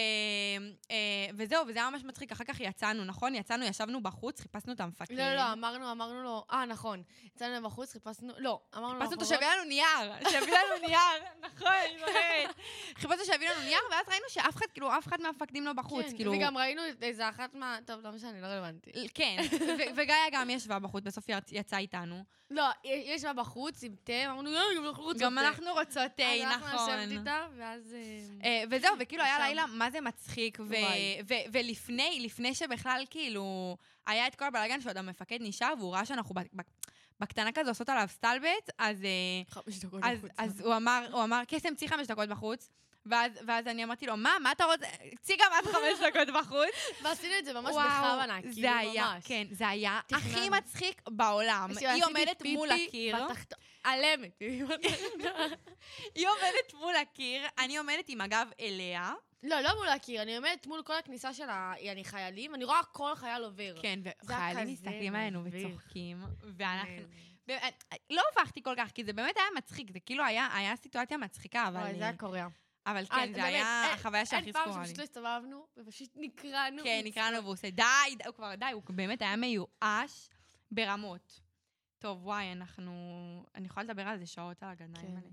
[SPEAKER 2] אה, וזהו, וזה היה ממש מצחיק. אחר כך יצאנו, נכון? יצאנו, ישבנו בחוץ, חיפשנו את המפקד.
[SPEAKER 4] לא, לא, אמרנו, אמרנו לו, אה, נכון. יצאנו לבחוץ, חיפשנו, לא, אמרנו לו,
[SPEAKER 2] חיפשנו אותו
[SPEAKER 4] "אנחנו
[SPEAKER 2] שיביא לנו נייר, שיביא לנו נייר, נכון, אני זוכרת. חיפשנו שיביא לנו נייר, ואז ראינו שאף אחד, כאילו, אף אחד מהמפקדים לא בחוץ,
[SPEAKER 4] כן,
[SPEAKER 2] כאילו...
[SPEAKER 4] וגם ראינו איזה אחת מה... טוב, לא משנה, לא רלוונטי.
[SPEAKER 2] כן, ו- וגאיה גם ישבה בחוץ, בסוף היא יצאה איתנו.
[SPEAKER 4] לא, היא ישבה בחוץ עם תה, אמרנו, "אה, גם אנחנו רוצות
[SPEAKER 2] גם
[SPEAKER 4] תה."
[SPEAKER 2] אנחנו רוצות תה,
[SPEAKER 4] אז
[SPEAKER 2] נכון.
[SPEAKER 4] הלכנו לשבת איתה, ואז... אה,
[SPEAKER 2] אה, וזהו, וכאילו היה
[SPEAKER 4] שם.
[SPEAKER 2] לילה, מה זה מצחיק, ו-
[SPEAKER 4] וואי.
[SPEAKER 2] ו- ולפני, לפני שבכלל כאילו, היה את כל הבלאגן שעוד המפקד נשאר, והוא ראה שאנחנו ב- ב- בקטנה כזה עושות עליו סטלבט, אז... אה,
[SPEAKER 4] חמש דקות
[SPEAKER 2] אז, אז הוא אמר, הוא אמר, קסם, צאי חמש דקות בחוץ. ואז, ואז אני אמרתי לו, מה, מה אתה רוצה? צאי גם את חמש דקות בחוץ.
[SPEAKER 4] ועשינו את זה ממש
[SPEAKER 2] וואו,
[SPEAKER 4] בכוונה, כאילו, ממש.
[SPEAKER 2] זה היה, כן, זה היה
[SPEAKER 4] תכננו. כאילו,
[SPEAKER 2] הכי מצחיק בעולם. היא
[SPEAKER 4] עשיתי
[SPEAKER 2] עומדת
[SPEAKER 4] פיפי
[SPEAKER 2] מול הקיר,
[SPEAKER 4] בתחת- עלמת. כאילו.
[SPEAKER 2] היא עומדת מול הקיר, אני עומדת עם הגב אליה.
[SPEAKER 4] לא, לא מול הקיר, אני עומדת מול כל הכניסה של ה... אני חיילים, אני רואה כל חייל עובר.
[SPEAKER 2] כן,
[SPEAKER 4] זה היה
[SPEAKER 2] וחיילים
[SPEAKER 4] כזה
[SPEAKER 2] מסתכלים עלינו
[SPEAKER 4] מביך.
[SPEAKER 2] וצוחקים, ואנחנו... באמת, לא הופכתי כל כך, כי זה באמת היה מצחיק, זה כאילו היה היה סיטואציה מצחיקה, אבל
[SPEAKER 4] וואי, זה היה קורע.
[SPEAKER 2] אבל
[SPEAKER 4] אה,
[SPEAKER 2] כן,
[SPEAKER 4] באמת,
[SPEAKER 2] זה היה
[SPEAKER 4] אין-
[SPEAKER 2] החוויה שהכי
[SPEAKER 4] אין פעם
[SPEAKER 2] זכורה לי.
[SPEAKER 4] שפשוט לא הסתובבנו, ופשוט נקרענו.
[SPEAKER 2] כן, נקרא לו והוא עושה די, די", הוא כבר די, הוא באמת היה מיואש ברמות. טוב, וואי, אנחנו... אני יכולה לדבר על זה שעות על הגדיים
[SPEAKER 4] כן.
[SPEAKER 2] האלה.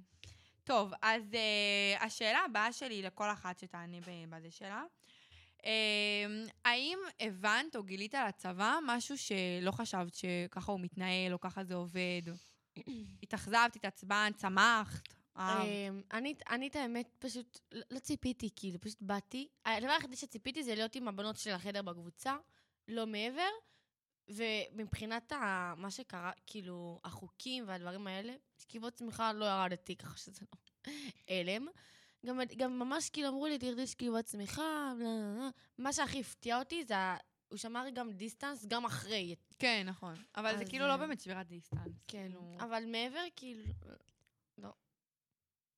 [SPEAKER 2] טוב, אז uh, השאלה הבאה שלי לכל אחת שתענה ב- בזה שלה, uh, האם הבנת או גילית על הצבא משהו שלא חשבת שככה הוא מתנהל או ככה זה עובד? התאכזבת, התעצבנת, אה, שמחת? אהבת?
[SPEAKER 4] אמ, אני, אני את האמת פשוט לא לא ציפיתי, כאילו, פשוט באתי. הדבר היחידי שציפיתי זה להיות עם הבנות של החדר בקבוצה, לא מעבר. ומבחינת ה, מה שקרה, כאילו, החוקים והדברים האלה, שכיבות צמיחה לא ירדתי, ככה שזה לא הלם. גם, גם ממש כאילו אמרו לי, תרדי שכיבות צמיחה, בלה, בלה, בלה. מה שהכי הפתיע אותי זה, ה- הוא שמר גם דיסטנס גם אחרי.
[SPEAKER 2] כן, נכון. אבל זה
[SPEAKER 4] אז,
[SPEAKER 2] כאילו לא
[SPEAKER 4] אה,
[SPEAKER 2] באמת שבירת דיסטנס. כאילו-
[SPEAKER 4] אבל מעבר, כאילו, לא.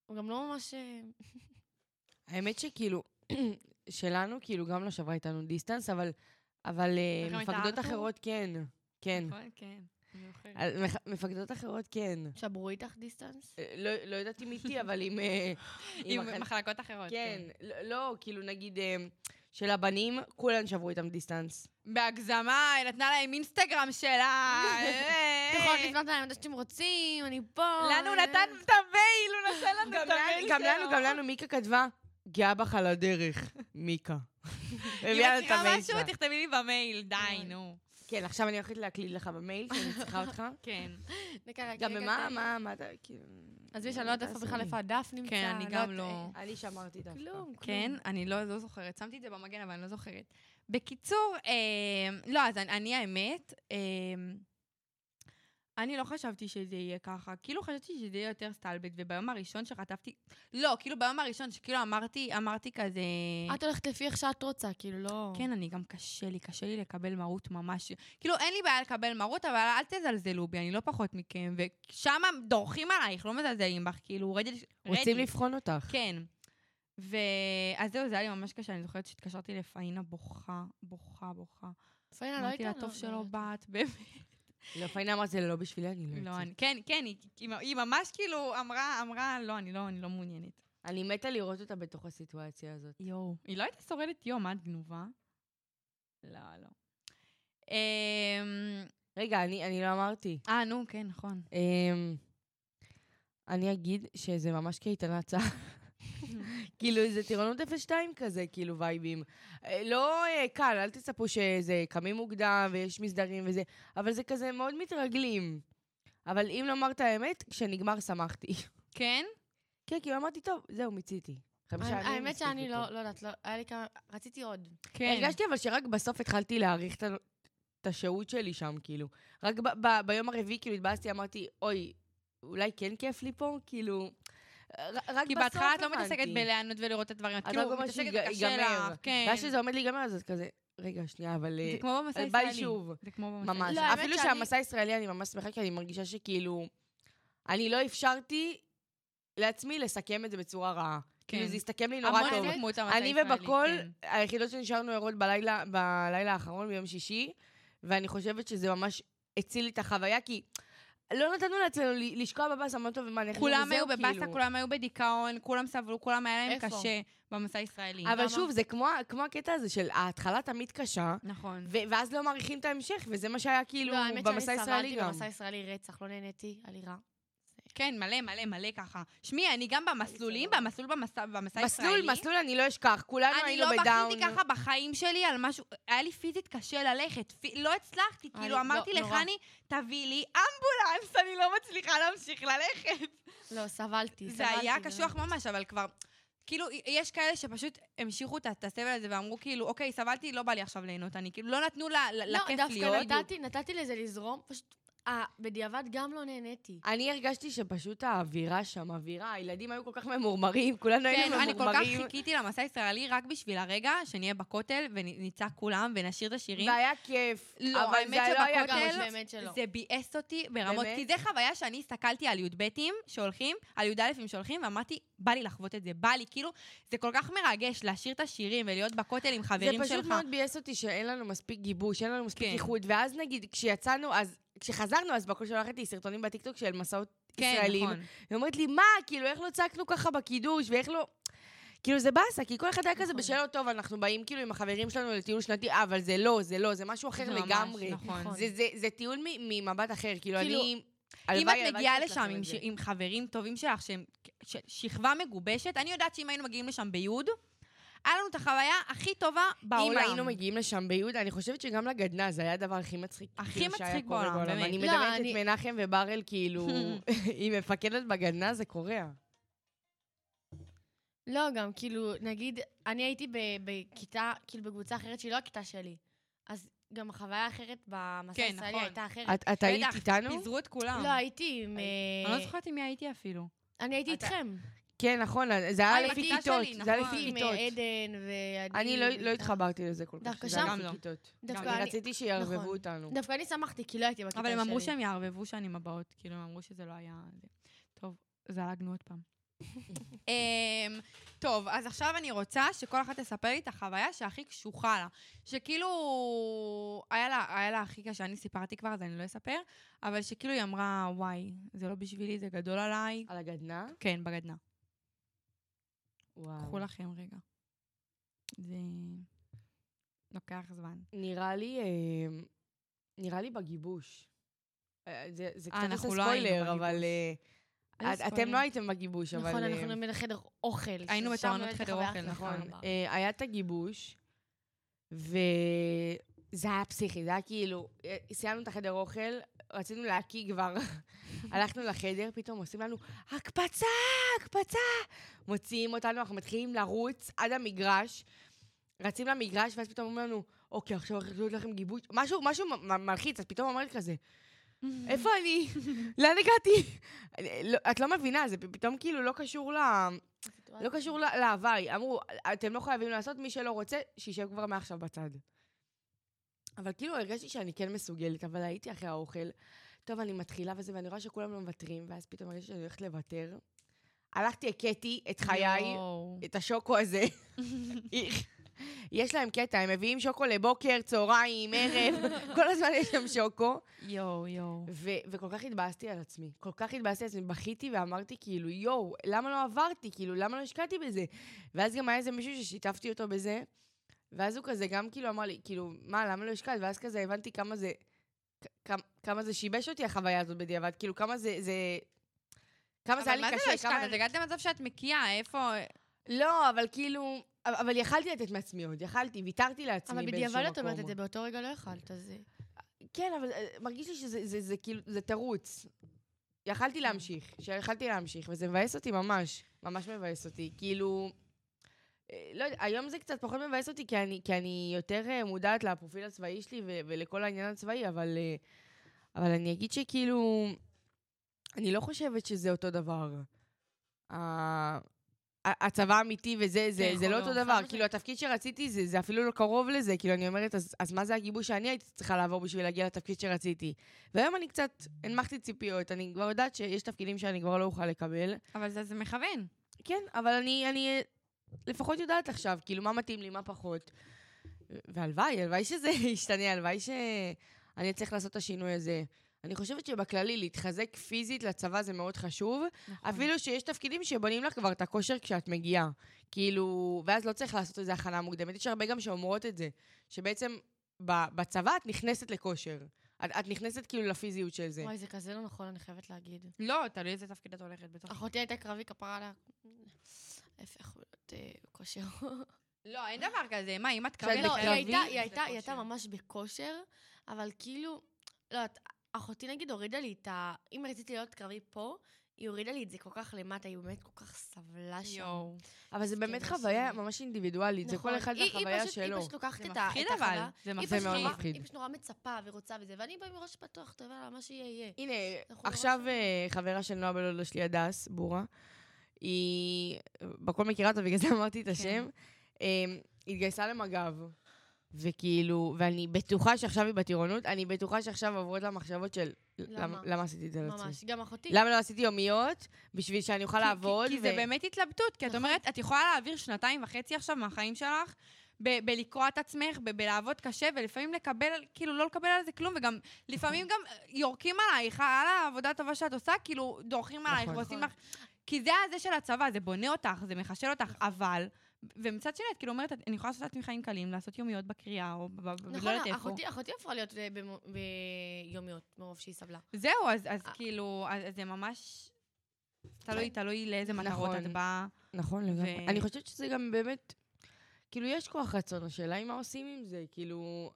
[SPEAKER 4] הוא גם לא ממש... אה,
[SPEAKER 3] האמת שכאילו, שלנו, כאילו, גם לא שברה איתנו דיסטנס, אבל, אבל אה,
[SPEAKER 2] לכם הייתה
[SPEAKER 3] מפקדות
[SPEAKER 2] ארתור?
[SPEAKER 3] אחרות כן. כן.
[SPEAKER 2] נכון, כן. אני זוכרת.
[SPEAKER 3] על- מח- מפקדות אחרות כן.
[SPEAKER 4] שברו איתך דיסטנס?
[SPEAKER 3] אה, לא- לא יודעת אם איתי, אבל עם... אה,
[SPEAKER 2] עם
[SPEAKER 3] החן-
[SPEAKER 2] מחלקות אחרות.
[SPEAKER 3] כן, לא- לא, כאילו, נגיד, אה, של הבנים, כולן שברו איתם דיסטנס.
[SPEAKER 2] כן. בהגזמה, היא נתנה להם אינסטגרם שלה. אה,
[SPEAKER 4] אתם יכולות נכון, לפנות אליי מתי שאתם רוצים, אני פה.
[SPEAKER 2] לנו הוא
[SPEAKER 4] אה,
[SPEAKER 2] נתן את המייל, הוא נתן נכון. לנו
[SPEAKER 3] גם
[SPEAKER 2] את
[SPEAKER 3] לנו,
[SPEAKER 2] המייל שלו.
[SPEAKER 3] גם לנו, גם לנו, מיקה כתבה, גאה בך על הדרך, מיקה.
[SPEAKER 2] אם
[SPEAKER 3] הביאה
[SPEAKER 2] את נכון.
[SPEAKER 3] לנו את
[SPEAKER 2] צריכה
[SPEAKER 3] המייל
[SPEAKER 2] משהו,
[SPEAKER 3] שלה.
[SPEAKER 2] תכתבי לי במייל, די, נו.
[SPEAKER 3] כן, עכשיו אני הולכת להקליד לך במייל, שאני צריכה אותך.
[SPEAKER 4] אוקיי,
[SPEAKER 2] כן.
[SPEAKER 4] דקה, רק
[SPEAKER 3] גם
[SPEAKER 4] רגע,
[SPEAKER 3] במה,
[SPEAKER 4] תן לי.
[SPEAKER 3] מה, מה אתה, כאילו...
[SPEAKER 4] אוקיי, עזבי שאני לא יודעת איפה בכלל איפה הדף נמצא.
[SPEAKER 2] כן, אני
[SPEAKER 4] לא
[SPEAKER 2] גם
[SPEAKER 4] יודעת,
[SPEAKER 2] לא.
[SPEAKER 4] אה,
[SPEAKER 3] אני שמרתי דווקא.
[SPEAKER 4] כלום,
[SPEAKER 2] כן,
[SPEAKER 4] כלום.
[SPEAKER 2] אני לא לא זוכרת. שמתי את זה במגן, אבל אני לא זוכרת. בקיצור, אה, לא, אז אני- אני האמת, אה, אני לא חשבתי שזה יהיה ככה. כאילו חשבתי שזה יהיה יותר סטלבט, וביום הראשון שחטפתי... לא, כאילו ביום הראשון שכאילו אמרתי, אמרתי כזה...
[SPEAKER 4] את הולכת לפי איך שאת רוצה, כאילו, לא...
[SPEAKER 2] כן, אני גם קשה לי, קשה לי לקבל מרות ממש. כאילו, אין לי בעיה לקבל מרות, אבל אל תזלזלו בי, אני לא פחות מכם. ושם דורכים עלייך, לא מזלזלים בך, כאילו, רדי.
[SPEAKER 3] רוצים
[SPEAKER 2] רדי.
[SPEAKER 3] לבחון אותך.
[SPEAKER 2] כן. ואז זהו, זה היה לי ממש קשה, אני זוכרת שהתקשרתי לפאינה בוכה, בוכה, בוכה.
[SPEAKER 4] פאינה לא
[SPEAKER 2] אמרתי
[SPEAKER 4] הייתה.
[SPEAKER 2] לה,
[SPEAKER 4] לא,
[SPEAKER 2] טוב
[SPEAKER 4] לא
[SPEAKER 2] שלא באת,
[SPEAKER 4] יודעת.
[SPEAKER 2] באמת.
[SPEAKER 3] לא, פאינה אמרת, זה לא בשבילי, אני לא
[SPEAKER 2] לא,
[SPEAKER 3] יוצאת."
[SPEAKER 2] אני, כן, כן, היא- היא- היא ממש כאילו אמרה, אמרה, לא, אני לא, אני לא מעוניינת.
[SPEAKER 3] אני מתה לראות אותה בתוך הסיטואציה הזאת.
[SPEAKER 2] יואו. היא לא הייתה שורדת יום, את גנובה? לא, לא. אמ,
[SPEAKER 3] רגע, אני אני לא אמרתי.
[SPEAKER 2] אה, נו, כן, נכון.
[SPEAKER 3] אמ, אני אגיד שזה ממש קייטנת צה"ל. כאילו, זה טירונות 02 כזה, כאילו וייבים. אה, לא אה, קל, אל תצפו שזה קמים מוקדם ויש מסדרים וזה, אבל זה כזה מאוד מתרגלים. אבל אם לומר את האמת, כשנגמר שמחתי.
[SPEAKER 2] כן?
[SPEAKER 3] כן, כאילו אמרתי, טוב, זהו, מיציתי. חמישה ימים.
[SPEAKER 4] האמת
[SPEAKER 3] מספיק
[SPEAKER 4] שאני
[SPEAKER 3] לי
[SPEAKER 4] לא
[SPEAKER 3] פה."
[SPEAKER 4] לא יודעת, לא- היה לי כמה... רציתי עוד.
[SPEAKER 2] כן.
[SPEAKER 3] הרגשתי אבל שרק בסוף התחלתי להעריך את ה- את השהות שלי שם, כאילו. רק ב- ב- ביום הרביעי, כאילו, התבאסתי, אמרתי, אוי, אולי כן כיף לי פה? כאילו... ר- רק בסוף
[SPEAKER 2] כי בהתחלה את לא
[SPEAKER 3] הבנתי.
[SPEAKER 2] מתעסקת בלענות ולראות את הדברים, את
[SPEAKER 3] את
[SPEAKER 2] כאילו
[SPEAKER 3] רק אומרת
[SPEAKER 2] מתעסקת
[SPEAKER 3] שיג-
[SPEAKER 2] קשה
[SPEAKER 3] ייגמר.
[SPEAKER 2] לך. כן.
[SPEAKER 3] ואז שזה עומד להיגמר, אז את כזה, רגע, שנייה, אבל...
[SPEAKER 2] זה
[SPEAKER 3] אה,
[SPEAKER 2] כמו במסע
[SPEAKER 3] אה,
[SPEAKER 2] הישראלי.
[SPEAKER 3] ביי שוב.
[SPEAKER 2] זה כמו במסע
[SPEAKER 3] ממש.
[SPEAKER 4] לא, האמת
[SPEAKER 3] אפילו
[SPEAKER 4] שאני-
[SPEAKER 3] שהמסע הישראלי, אני ממש שמחה, כי אני מרגישה שכאילו... אני לא אפשרתי לעצמי לסכם את זה בצורה רעה.
[SPEAKER 2] כן.
[SPEAKER 3] כאילו, זה הסתכם לי נורא
[SPEAKER 2] המון
[SPEAKER 3] טוב.
[SPEAKER 2] דמות המסע
[SPEAKER 3] אני
[SPEAKER 2] הישראלי,
[SPEAKER 3] ובכל,
[SPEAKER 2] כן.
[SPEAKER 3] היחידות שנשארנו ערות בלילה, בלילה האחרון ביום שישי, ואני חושבת שזה ממש הציל לי את החוויה, כי לא נתנו לעצמנו ל- לשקוע בבאסה, אמרנו טוב, מה, אנחנו
[SPEAKER 2] כולם
[SPEAKER 3] וזהו,
[SPEAKER 2] היו
[SPEAKER 3] כאילו."
[SPEAKER 2] בבאסה, כולם היו בדיכאון, כולם סבלו, כולם היה להם
[SPEAKER 4] איפה?
[SPEAKER 2] קשה במסע הישראלי.
[SPEAKER 3] אבל
[SPEAKER 4] למה?
[SPEAKER 3] שוב, זה כמו, כמו הקטע הזה של ההתחלה תמיד קשה,
[SPEAKER 2] נכון.
[SPEAKER 3] ו- ואז לא מעריכים את ההמשך, וזה מה שהיה כאילו
[SPEAKER 4] לא, האמת
[SPEAKER 3] במסע
[SPEAKER 4] שאני
[SPEAKER 3] הישראלי
[SPEAKER 4] סבלתי
[SPEAKER 3] גם.
[SPEAKER 4] במסע הישראלי רצח, לא נהניתי, היה לי רע.
[SPEAKER 2] כן, מלא, מלא, מלא ככה. שמי, אני גם במסלולים, במסלול במסע במסע הישראלי.
[SPEAKER 3] מסלול, מסלול אני לא אשכח, כולנו
[SPEAKER 2] אני
[SPEAKER 3] היינו
[SPEAKER 2] לא
[SPEAKER 3] בדאון.
[SPEAKER 2] בכיתי ככה בחיים שלי על משהו, היה לי פיזית קשה ללכת, פי- לא הצלחתי,
[SPEAKER 4] היה
[SPEAKER 2] כאילו
[SPEAKER 4] לי-
[SPEAKER 2] אמרתי
[SPEAKER 4] לא, נורא.
[SPEAKER 2] לחני, תביא לי אמבולנס, אני לא מצליחה להמשיך ללכת.
[SPEAKER 4] לא, סבלתי,
[SPEAKER 2] זה
[SPEAKER 4] סבלתי.
[SPEAKER 2] היה
[SPEAKER 4] לא
[SPEAKER 2] קשוח
[SPEAKER 4] נהניתי.
[SPEAKER 2] ממש, אבל כבר... כאילו, יש כאלה שפשוט המשיכו את את הסבל הזה ואמרו, כאילו, אוקיי, סבלתי, לא בא לי עכשיו ליהנות, אני כאילו, לא נתנו ל- ל-
[SPEAKER 4] לא,
[SPEAKER 2] לכיף
[SPEAKER 4] דווקא
[SPEAKER 2] להיות.
[SPEAKER 4] נתתי- נתתי לזה לזרום, פשוט... אה, בדיעבד גם לא נהניתי.
[SPEAKER 3] אני הרגשתי שפשוט האווירה שם, האווירה, הילדים היו כל כך ממורמרים, כולנו
[SPEAKER 2] כן,
[SPEAKER 3] היינו
[SPEAKER 2] אני כל כך
[SPEAKER 3] ממורמרים.
[SPEAKER 2] חיכיתי למסע הישראלי רק בשביל הרגע שנהיה בכותל ונצעק כולם ונשיר את השירים.
[SPEAKER 3] והיה כיף.
[SPEAKER 2] לא,
[SPEAKER 3] אבל
[SPEAKER 2] האמת
[SPEAKER 3] זה לא היה
[SPEAKER 4] גם,
[SPEAKER 2] שבכותל-
[SPEAKER 3] כיף.
[SPEAKER 2] אבל
[SPEAKER 4] באמת שלא.
[SPEAKER 2] זה ביאס אותי ברמות,
[SPEAKER 3] באמת?
[SPEAKER 2] כי זה חוויה שאני הסתכלתי על י"בים שהולכים, על י"אים שהולכים, ואמרתי, בא לי לחוות את זה, בא לי, כאילו, זה כל כך מרגש לשיר את השירים ולהיות בכותל עם
[SPEAKER 3] זה
[SPEAKER 2] חברים שלך.
[SPEAKER 3] פשוט מאוד ביאס אותי שאין לנו מספיק גיבוש, אין לנו מספיק
[SPEAKER 2] כן.
[SPEAKER 3] איחוד. ואז נגיד, כשיצאנו, אז... כשחזרנו, אז בכל שלחתי סרטונים בטיקטוק של מסעות
[SPEAKER 2] כן,
[SPEAKER 3] ישראלים.
[SPEAKER 2] נכון.
[SPEAKER 3] היא אומרת לי, מה, כאילו, איך לא צעקנו ככה בקידוש, ואיך לא... כאילו, זה באסה, כי כל אחד היה כזה
[SPEAKER 4] נכון.
[SPEAKER 3] בשלו טוב, אנחנו באים כאילו עם החברים שלנו לטיול שנתי, "אה, אבל זה לא, זה לא, זה משהו
[SPEAKER 2] זה
[SPEAKER 3] אחר
[SPEAKER 2] ממש,
[SPEAKER 3] לגמרי.
[SPEAKER 2] נכון.
[SPEAKER 4] נכון.
[SPEAKER 3] זה- זה- זה טיול מ- ממבט אחר, כאילו,
[SPEAKER 4] כאילו,
[SPEAKER 3] אני...
[SPEAKER 2] אם
[SPEAKER 3] הלוואי,
[SPEAKER 2] את
[SPEAKER 3] הלוואי
[SPEAKER 2] מגיעה
[SPEAKER 3] שיש
[SPEAKER 2] לשם
[SPEAKER 3] לכם
[SPEAKER 2] עם,
[SPEAKER 3] את
[SPEAKER 2] ש...
[SPEAKER 3] זה.
[SPEAKER 2] עם חברים טובים שלך, שהם ש... שכבה מגובשת, אני יודעת שאם היינו מגיעים לשם ביוד, היה לנו את החוויה הכי טובה בעולם.
[SPEAKER 3] אם היינו מגיעים לשם ביהודה, אני חושבת שגם לגדנ"ע זה היה הדבר הכי מצחיק.
[SPEAKER 2] הכי
[SPEAKER 3] כאילו, שהיה
[SPEAKER 2] מצחיק
[SPEAKER 3] קורה
[SPEAKER 2] בעולם, באמת.
[SPEAKER 3] אני
[SPEAKER 4] לא,
[SPEAKER 3] מדמיינת את
[SPEAKER 4] אני-
[SPEAKER 3] מנחם וברל, כאילו, היא מפקדת בגדנ"ע, זה קורע.
[SPEAKER 2] אה,
[SPEAKER 4] לא, גם כאילו, נגיד, אני הייתי ב- בכיתה, כאילו בקבוצה אחרת שהיא לא הכיתה שלי. אז גם החוויה האחרת במסע
[SPEAKER 2] כן,
[SPEAKER 4] הישראלי
[SPEAKER 2] נכון.
[SPEAKER 4] הייתה אחרת.
[SPEAKER 3] את- את היית
[SPEAKER 2] בטח,
[SPEAKER 3] איתנו?
[SPEAKER 2] פיזרו את כולם.
[SPEAKER 4] לא, הייתי עם...
[SPEAKER 2] אני
[SPEAKER 4] אה,
[SPEAKER 2] לא זוכרת עם מי הייתי אפילו.
[SPEAKER 4] אני הייתי
[SPEAKER 2] אתה-
[SPEAKER 4] איתכם.
[SPEAKER 3] כן, נכון, זה
[SPEAKER 2] אה,
[SPEAKER 3] היה
[SPEAKER 2] עם
[SPEAKER 3] לפי
[SPEAKER 2] הכיתה
[SPEAKER 3] כיתות.
[SPEAKER 2] שלי,
[SPEAKER 3] זה היה
[SPEAKER 2] נכון.
[SPEAKER 3] לפי
[SPEAKER 4] עם
[SPEAKER 3] כיתות.
[SPEAKER 4] אה, עדן ועדי.
[SPEAKER 3] אני לא- לא
[SPEAKER 4] ואיתך.
[SPEAKER 3] התחברתי לזה כל כך,
[SPEAKER 4] דווקא
[SPEAKER 3] שזה היה
[SPEAKER 2] שם
[SPEAKER 3] לפי
[SPEAKER 2] לא.
[SPEAKER 3] כיתות.
[SPEAKER 4] דווקא
[SPEAKER 2] גם
[SPEAKER 3] אני
[SPEAKER 4] אני-
[SPEAKER 3] רציתי שיערבבו
[SPEAKER 4] נכון.
[SPEAKER 3] אותנו.
[SPEAKER 4] דווקא אני שמחתי, כי לא הייתי בכיתה
[SPEAKER 2] אבל
[SPEAKER 4] שלי.
[SPEAKER 2] הם אמרו שהם יערבבו שנים הבאות, כאילו, הם אמרו שזה לא היה... זה. טוב, זלגנו עוד פעם. אמ, טוב, אז עכשיו אני רוצה שכל אחת תספר לי את החוויה שהכי קשוחה לה. שכאילו, היה לה, היה לה הכי קשה, אני סיפרתי כבר, אז אני לא אספר, אבל שכאילו היא אמרה, וואי, זה לא בשבילי, זה גדול עליי.
[SPEAKER 3] על הגדנ"ע?
[SPEAKER 2] כן, בגדנה.
[SPEAKER 3] וואו.
[SPEAKER 2] קחו לכם רגע. זה... לוקח זמן.
[SPEAKER 3] נראה לי, אה, נראה לי בגיבוש. אה, זה זה
[SPEAKER 2] אה,
[SPEAKER 3] קצת עושה
[SPEAKER 2] אנחנו לא היינו
[SPEAKER 3] ספוילר,
[SPEAKER 2] בגיבוש.
[SPEAKER 3] אבל... אה,
[SPEAKER 2] אין
[SPEAKER 3] את- אתם
[SPEAKER 2] ספוילר.
[SPEAKER 3] לא הייתם בגיבוש, אבל...
[SPEAKER 4] נכון,
[SPEAKER 3] אה,
[SPEAKER 4] אנחנו היינו בחדר אוכל.
[SPEAKER 2] היינו
[SPEAKER 4] ששם
[SPEAKER 2] בתורנות
[SPEAKER 4] הייתה
[SPEAKER 2] חדר
[SPEAKER 4] חוויה
[SPEAKER 2] אוכל,
[SPEAKER 4] הכי
[SPEAKER 2] נכון.
[SPEAKER 4] חרבה.
[SPEAKER 2] אה,
[SPEAKER 3] אה, היה את הגיבוש, וזה היה פסיכי, זה היה כאילו, אה, סיימנו את החדר אוכל, רצינו להקיא כבר, הלכנו לחדר, פתאום עושים לנו, הקפצה, הקפצה! מוציאים אותנו, אנחנו מתחילים לרוץ עד המגרש, רצים למגרש, ואז פתאום אומרים לנו, אוקיי, עכשיו הולכים להיות לכם גיבוש, משהו, משהו מ- מ- מלחיץ, אז פתאום אומרת כזה, איפה אני? לאן הגעתי? לא, את לא מבינה, זה פ- פתאום כאילו לא קשור ל...
[SPEAKER 2] אה,
[SPEAKER 3] לא קשור ל- להוואי. אמרו, אתם לא חייבים לעשות, מי שלא רוצה, שישב כבר מעכשיו בצד. אבל כאילו הרגשתי שאני כן מסוגלת, אבל הייתי אחרי האוכל. טוב, אני מתחילה וזה, ואני רואה שכולם לא מוותרים, ואז פתאום הרגשתי שאני הולכת לוותר. הלכתי, הכיתי את חיי,
[SPEAKER 2] יואו.
[SPEAKER 3] את השוקו הזה. יש להם קטע, הם מביאים שוקו לבוקר, צהריים, ערב, כל הזמן יש שם שוקו.
[SPEAKER 2] יואו, יואו.
[SPEAKER 3] ו- וכל כך התבאסתי על עצמי. כל כך התבאסתי על עצמי, בכיתי ואמרתי כאילו, יואו, למה לא עברתי? כאילו, למה לא השקעתי בזה? ואז גם היה איזה מישהו ששיתפתי אותו בזה, ואז הוא כזה גם כאילו אמר לי, כאילו, מה, למה לא השקעת? ואז כזה הבנתי כמה זה, כ- כמה, כמה זה שיבש אותי החוויה הזאת בדיעבד, כאילו, כמה זה, זה... כמה זה היה לי
[SPEAKER 2] אבל מה
[SPEAKER 3] קשה,
[SPEAKER 2] זה לא
[SPEAKER 3] כמה...
[SPEAKER 2] השקעת? את הגעת למצב שאת מקיאה, איפה...
[SPEAKER 3] לא, אבל כאילו... אבל- אבל יכלתי לתת מעצמי עוד, יכלתי, ויתרתי לעצמי
[SPEAKER 4] אבל
[SPEAKER 3] באיזשהו
[SPEAKER 4] בדיעבד את אומרת
[SPEAKER 3] מקום.
[SPEAKER 4] את זה, באותו רגע לא יכלת, אז...
[SPEAKER 3] כן, אבל אה, מרגיש לי שזה זה, זה, כאילו, זה תירוץ. יכלתי להמשיך, שיכלתי להמשיך, וזה מבאס אותי ממש, ממש מבאס אותי. כאילו, אה, לא יודע, היום זה קצת פחות מבאס אותי, כי אני, כי אני יותר אה, מודעת לפרופיל הצבאי שלי ו- ולכל העניין הצבאי, אבל, אה, אבל אני אגיד שכאילו, אני לא חושבת שזה אותו דבר. ה- ה- הצבא האמיתי וזה, זה,
[SPEAKER 2] כן,
[SPEAKER 3] זה לא
[SPEAKER 2] לא,
[SPEAKER 3] אותו
[SPEAKER 2] חד
[SPEAKER 3] דבר.
[SPEAKER 2] משמעית.
[SPEAKER 3] כאילו, התפקיד שרציתי, זה, זה אפילו לא קרוב לזה. כאילו, אני אומרת, אז, אז מה זה הגיבוש שאני הייתי צריכה לעבור בשביל להגיע לתפקיד שרציתי? והיום אני קצת הנמכתי ציפיות. אני כבר יודעת שיש תפקידים שאני כבר לא אוכל לקבל.
[SPEAKER 2] אבל זה, זה מכוון.
[SPEAKER 3] כן, אבל אני, אני אה, לפחות יודעת עכשיו, כאילו, מה מתאים לי, מה פחות. והלוואי, הלוואי שזה ישתנה, הלוואי שאני אצליח לעשות את השינוי הזה. אני חושבת שבכללי, להתחזק פיזית לצבא זה מאוד חשוב,
[SPEAKER 2] נכון.
[SPEAKER 3] אפילו שיש תפקידים שבונים לך כבר את הכושר כשאת מגיעה. כאילו, ואז לא צריך לעשות איזה הכנה מוקדמת. יש הרבה גם שאומרות את זה, שבעצם ב- בצבא את נכנסת לכושר. את, את נכנסת כאילו לפיזיות של זה.
[SPEAKER 4] וואי, זה כזה לא נכון, אני חייבת להגיד.
[SPEAKER 2] לא, תלוי איזה תפקיד את הולכת בתוך...
[SPEAKER 4] אחותי הייתה קרבי כפרה עליה. ההפך, להיות אה, בכושר.
[SPEAKER 2] לא, אין דבר כזה. מה, אם את
[SPEAKER 3] כשאת
[SPEAKER 2] כרגע...
[SPEAKER 4] לא, היא
[SPEAKER 3] בקרבי,
[SPEAKER 4] הייתה- היא
[SPEAKER 2] זה
[SPEAKER 4] הייתה- היא הייתה
[SPEAKER 2] כושר.
[SPEAKER 4] ממש בכושר, אבל כאילו, לא יודעת, אחותי נגיד הורידה לי את ה... אם רציתי להיות קרבי פה, היא הורידה לי את זה כל כך למטה, היא באמת כל כך סבלה שם.
[SPEAKER 2] יואו.
[SPEAKER 3] אבל זה באמת
[SPEAKER 4] מסכנה
[SPEAKER 3] חוויה
[SPEAKER 4] שלי.
[SPEAKER 3] ממש אינדיבידואלית, זה
[SPEAKER 4] נכון.
[SPEAKER 3] כל אחד
[SPEAKER 4] היא- היא
[SPEAKER 3] והחוויה
[SPEAKER 4] פשוט-
[SPEAKER 3] שלו.
[SPEAKER 4] היא פשוט לוקחת
[SPEAKER 2] זה
[SPEAKER 4] את ה-
[SPEAKER 2] מפחיד
[SPEAKER 4] את
[SPEAKER 2] אבל.
[SPEAKER 4] החוויה.
[SPEAKER 2] זה
[SPEAKER 4] היא
[SPEAKER 2] מפחיד.
[SPEAKER 3] זה
[SPEAKER 4] פשוט
[SPEAKER 3] מאוד
[SPEAKER 4] נורא-
[SPEAKER 3] מפחיד.
[SPEAKER 4] היא פשוט נורא מצפה ורוצה וזה, ואני באה מראש פתוח, טוב, יאללה, מה שיהיה יהיה.
[SPEAKER 3] הנה,
[SPEAKER 2] לא
[SPEAKER 4] אנחנו נורא
[SPEAKER 3] עכשיו
[SPEAKER 4] שם.
[SPEAKER 3] אה, חברה של נועה בלולו שלי, הדס, בורה, היא, בכל מכירה אותה, בגלל זה אמרתי את
[SPEAKER 2] כן.
[SPEAKER 3] השם, אה, היא התגייסה למג"ב. וכאילו, ואני בטוחה שעכשיו היא בטירונות, אני בטוחה שעכשיו עוברות לה מחשבות של
[SPEAKER 4] למה?
[SPEAKER 3] למה, למה עשיתי את זה לעצמי?
[SPEAKER 4] ממש, גם אחותי.
[SPEAKER 3] למה לא עשיתי יומיות? בשביל שאני אוכל
[SPEAKER 2] כי-
[SPEAKER 3] לעבוד?
[SPEAKER 2] כי, כי זה באמת התלבטות, כי את
[SPEAKER 4] נכון.
[SPEAKER 2] אומרת, את יכולה להעביר שנתיים וחצי עכשיו מהחיים שלך ב- בלקרוע את עצמך, ב- בלעבוד קשה, ולפעמים לקבל, כאילו, לא לקבל על זה כלום, וגם, לפעמים
[SPEAKER 4] נכון.
[SPEAKER 2] גם אה, יורקים עלייך, על העבודה הטובה שאת עושה, כאילו, דורכים עלייך
[SPEAKER 3] נכון.
[SPEAKER 2] ועושים
[SPEAKER 4] נכון.
[SPEAKER 2] לך... כי זה הזה של הצבא, זה בונה אותך, זה מחשל אותך, אבל... ומצד שני, את כאילו אומרת, אני יכולה לעשות לעצמי חיים קלים, לעשות יומיות בקריאה, או ב- ב- ב- לא
[SPEAKER 4] נכון,
[SPEAKER 2] יודעת איפה.
[SPEAKER 4] אחותי- אחותי הפכה להיות אה, במו- ביומיות, מרוב שהיא סבלה.
[SPEAKER 2] זהו, אז אז
[SPEAKER 4] אה. כן.
[SPEAKER 2] כאילו, אז אז זה ממש... תלוי, תלוי לאיזה מטרות
[SPEAKER 3] נכון.
[SPEAKER 2] את באה.
[SPEAKER 3] נכון, לגמרי.
[SPEAKER 2] ו-
[SPEAKER 3] אני חושבת שזה גם באמת, כאילו, יש כוח רצון, השאלה היא מה עושים עם זה, כאילו...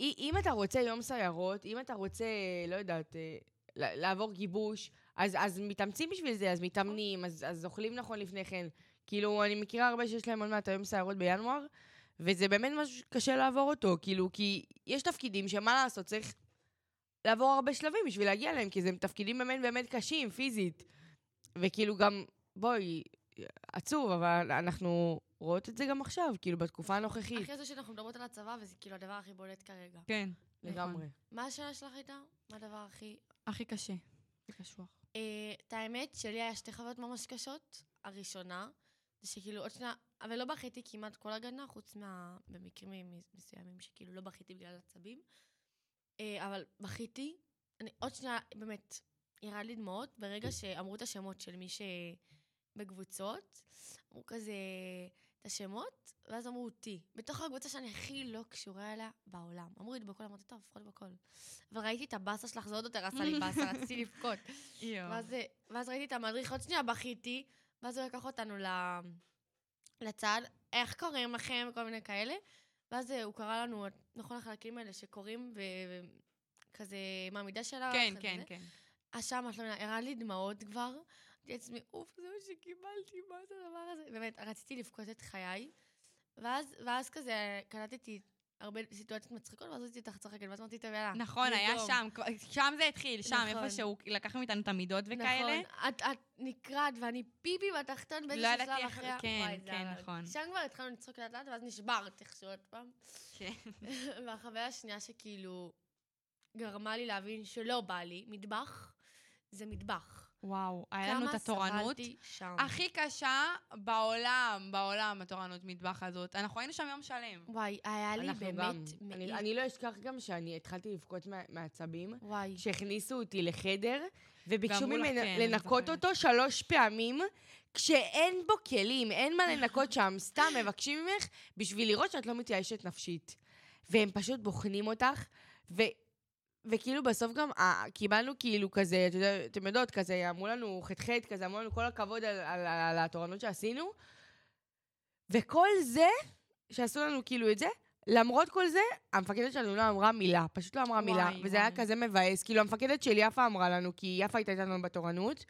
[SPEAKER 3] אי- אם אתה רוצה יום סיירות, אם אתה רוצה, לא יודעת, אה, ל- לעבור גיבוש, אז, אז מתאמצים בשביל זה, אז מתאמנים, אז, אז אוכלים נכון לפני כן. כאילו, אני מכירה הרבה שיש להם עוד מעט היום סיירות בינואר, וזה באמת משהו שקשה לעבור אותו, כאילו, כי יש תפקידים שמה לעשות, צריך לעבור הרבה שלבים בשביל להגיע אליהם, כי זה תפקידים באמת באמת קשים, פיזית. וכאילו גם, בואי, עצוב, אבל אנחנו רואות את זה גם עכשיו, כאילו, בתקופה הנוכחית.
[SPEAKER 4] אחרי זה שאנחנו מדברות על הצבא, וזה כאילו הדבר הכי בולט כרגע.
[SPEAKER 2] כן.
[SPEAKER 3] לגמרי.
[SPEAKER 4] מה השאלה שלך הייתה? מה הדבר הכי...
[SPEAKER 2] הכי קשה. הכי קשוח.
[SPEAKER 4] אה, את האמת, שלי היה שתי חוויות ממש קשות. הראשונה, זה שכאילו עוד שנייה, אבל לא בכיתי כמעט כל הגנה, חוץ מה... במקרים מ- מסוימים שכאילו לא בכיתי בגלל עצבים. אה, אבל בכיתי. אני עוד שנייה, באמת, ירד לי דמעות ברגע שאמרו את השמות של מי שבקבוצות. אמרו כזה את השמות, ואז אמרו אותי. בתוך הקבוצה שאני הכי לא קשורה אליה בעולם. אמרו לי בכל, אמרתי, טוב, לפחות בכל. אבל ראיתי את הבאסה שלך, זה עוד יותר עשה לי באסה, רציתי לבכות. ואז, אה, ואז ראיתי את המדריך, עוד שנייה בכיתי, ואז הוא לקח אותנו ל- לצד, איך קוראים לכם, כל מיני כאלה. ואז אה, הוא קרא לנו, נכון, החלקים האלה שקוראים, וכזה, מה המידה שלה?
[SPEAKER 2] כן, כן, כן.
[SPEAKER 4] אז שם, את לא מבינה, הראה לי דמעות כבר. אמרתי לעצמי, אוף, זה מה שקיבלתי, מה זה הדבר הזה? באמת, רציתי לבכות את חיי. ואז, ואז כזה, קלטתי הרבה סיטואציות מצחיקות, ואז רציתי אותך צחקת, ואז אמרתי, טוב, יאללה.
[SPEAKER 2] נכון, היה
[SPEAKER 4] נזום."
[SPEAKER 2] שם, כבר- שם זה התחיל, שם,
[SPEAKER 4] נכון.
[SPEAKER 2] איפה שהוא לקח מאיתנו את המידות וכאלה.
[SPEAKER 4] נכון, את, את נקרעת ואני פיפי בתחתון באיזשהו
[SPEAKER 2] ידעתי
[SPEAKER 4] שלב
[SPEAKER 2] איך-
[SPEAKER 4] אחרי... ה-
[SPEAKER 2] כן,
[SPEAKER 4] וואי, זה
[SPEAKER 2] כן,
[SPEAKER 4] הרג.
[SPEAKER 2] נכון.
[SPEAKER 4] שם כבר התחלנו לצחוק לאט לאט ואז נשברת איכשהו עוד פעם.
[SPEAKER 2] כן.
[SPEAKER 4] והחוויה השנייה שכאילו גרמה לי להבין שלא בא לי, מטבח זה מטבח.
[SPEAKER 2] וואו, היה לנו את
[SPEAKER 4] כמה
[SPEAKER 2] התורנות.
[SPEAKER 4] סבלתי שם.
[SPEAKER 2] הכי קשה בעולם, בעולם, התורנות מטבח הזאת. אנחנו היינו שם יום שלם.
[SPEAKER 4] וואי, היה לי
[SPEAKER 3] אנחנו
[SPEAKER 4] באמת
[SPEAKER 3] גם.
[SPEAKER 4] מעיק.
[SPEAKER 3] אני- אני לא אשכח גם שאני התחלתי לבכות מה- מעצבים,
[SPEAKER 4] וואי.
[SPEAKER 3] כשהכניסו אותי לחדר, וביקשו
[SPEAKER 2] ואמרו לך,
[SPEAKER 3] ממני
[SPEAKER 2] כן, אני
[SPEAKER 3] לנקות
[SPEAKER 2] זוכרת.
[SPEAKER 3] אותו שלוש פעמים, כשאין בו כלים, אין מה לנקות שם, סתם מבקשים ממך בשביל לראות שאת לא מתייאשת נפשית. והם פשוט בוחנים אותך, ו... וכאילו בסוף גם אה, קיבלנו כאילו כזה, אתה יודע, אתם יודעות, כזה אמרו לנו חטחט, כזה אמרו לנו כל הכבוד על, על, על, על התורנות שעשינו, וכל זה, שעשו לנו כאילו את זה, למרות כל זה, המפקדת שלנו לא אמרה מילה, פשוט לא אמרה מילה,
[SPEAKER 2] וואי,
[SPEAKER 3] וזה היה
[SPEAKER 2] וואי.
[SPEAKER 3] כזה מבאס. כאילו, המפקדת של יפה אמרה לנו, כי יפה הייתה איתנו בתורנות,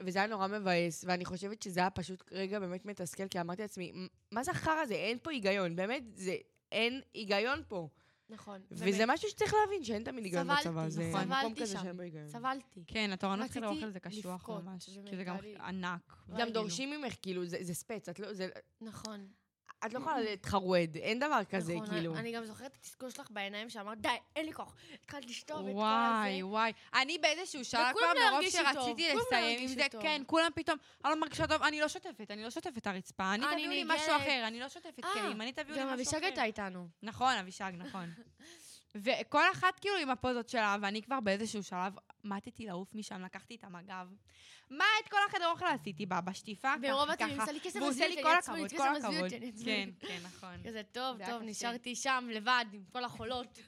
[SPEAKER 3] וזה היה נורא מבאס, ואני חושבת שזה היה פשוט רגע באמת מתסכל, כי אמרתי לעצמי, "מ- מה זה החרא הזה? אין פה היגיון, באמת, זה... אין היגיון פה.
[SPEAKER 4] נכון.
[SPEAKER 3] וזה משהו שצריך להבין, שאין תמיד היגיון
[SPEAKER 4] סבלתי,
[SPEAKER 3] בצבא. זה
[SPEAKER 4] נכון.
[SPEAKER 3] מקום
[SPEAKER 4] סבלתי
[SPEAKER 3] כזה
[SPEAKER 4] שם.
[SPEAKER 3] שאין בו היגיון.
[SPEAKER 4] סבלתי.
[SPEAKER 2] כן, התורנות של
[SPEAKER 4] רציתי
[SPEAKER 2] האוכל זה קשוח
[SPEAKER 4] לבכות,
[SPEAKER 2] ממש, כי זה
[SPEAKER 4] באמת,
[SPEAKER 2] גם
[SPEAKER 4] היה לי-
[SPEAKER 2] ענק.
[SPEAKER 4] וואי,
[SPEAKER 2] כאילו.
[SPEAKER 4] כאילו.
[SPEAKER 3] גם דורשים ממך, כאילו, זה זה ספץ, את לא זה-
[SPEAKER 4] נכון.
[SPEAKER 3] את לא יכולה להתחרוד, אין דבר כזה,
[SPEAKER 4] נכון,
[SPEAKER 3] כאילו.
[SPEAKER 4] אני גם זוכרת את התסכול שלך בעיניים שאמרת, די, אין לי כוח. התחלת לשתום את כל הזה.
[SPEAKER 2] וואי, וואי. אני באיזשהו שלב
[SPEAKER 4] וכולם לא
[SPEAKER 2] כבר, מרוב
[SPEAKER 4] הרגישו טוב,
[SPEAKER 2] שרציתי
[SPEAKER 4] כולם לא
[SPEAKER 2] לסיים עם
[SPEAKER 4] הרגישו
[SPEAKER 2] זה,
[SPEAKER 4] טוב.
[SPEAKER 2] כן, כולם פתאום, אני לא מרגישה טוב, אני לא שוטפת, אני לא שוטפת את הרצפה, אני
[SPEAKER 4] אני
[SPEAKER 2] תביאו לי
[SPEAKER 4] נרגשת.
[SPEAKER 2] משהו אחר, אני לא שוטפת
[SPEAKER 4] אה,
[SPEAKER 2] כלים, אני תביאו לי משהו
[SPEAKER 4] גם
[SPEAKER 2] אחר.
[SPEAKER 4] אבישג הייתה איתנו.
[SPEAKER 2] נכון, אבישג, נכון. וכל אחת כאילו עם הפוזות שלה, ואני כבר באיזשהו שלב מתתי לעוף משם, לקחתי את המגב. מה את כל החדר אוכל עשיתי בה? בשטיפה? ככה,
[SPEAKER 4] ברוב התימים,
[SPEAKER 2] ככה.
[SPEAKER 4] עושה לי כסף
[SPEAKER 2] והוא עושה
[SPEAKER 4] מזמין
[SPEAKER 2] לי
[SPEAKER 4] אותי,
[SPEAKER 2] כל
[SPEAKER 4] אני עצמאית,
[SPEAKER 2] הכבוד,
[SPEAKER 4] כסף
[SPEAKER 2] כל
[SPEAKER 4] מזמין
[SPEAKER 2] הכבוד.
[SPEAKER 4] אותי, אני
[SPEAKER 2] כן,
[SPEAKER 4] עצמאית.
[SPEAKER 2] כן, נכון.
[SPEAKER 4] כזה טוב,
[SPEAKER 2] זה היה
[SPEAKER 4] טוב,
[SPEAKER 2] קשה.
[SPEAKER 4] נשארתי שם לבד עם כל החולות.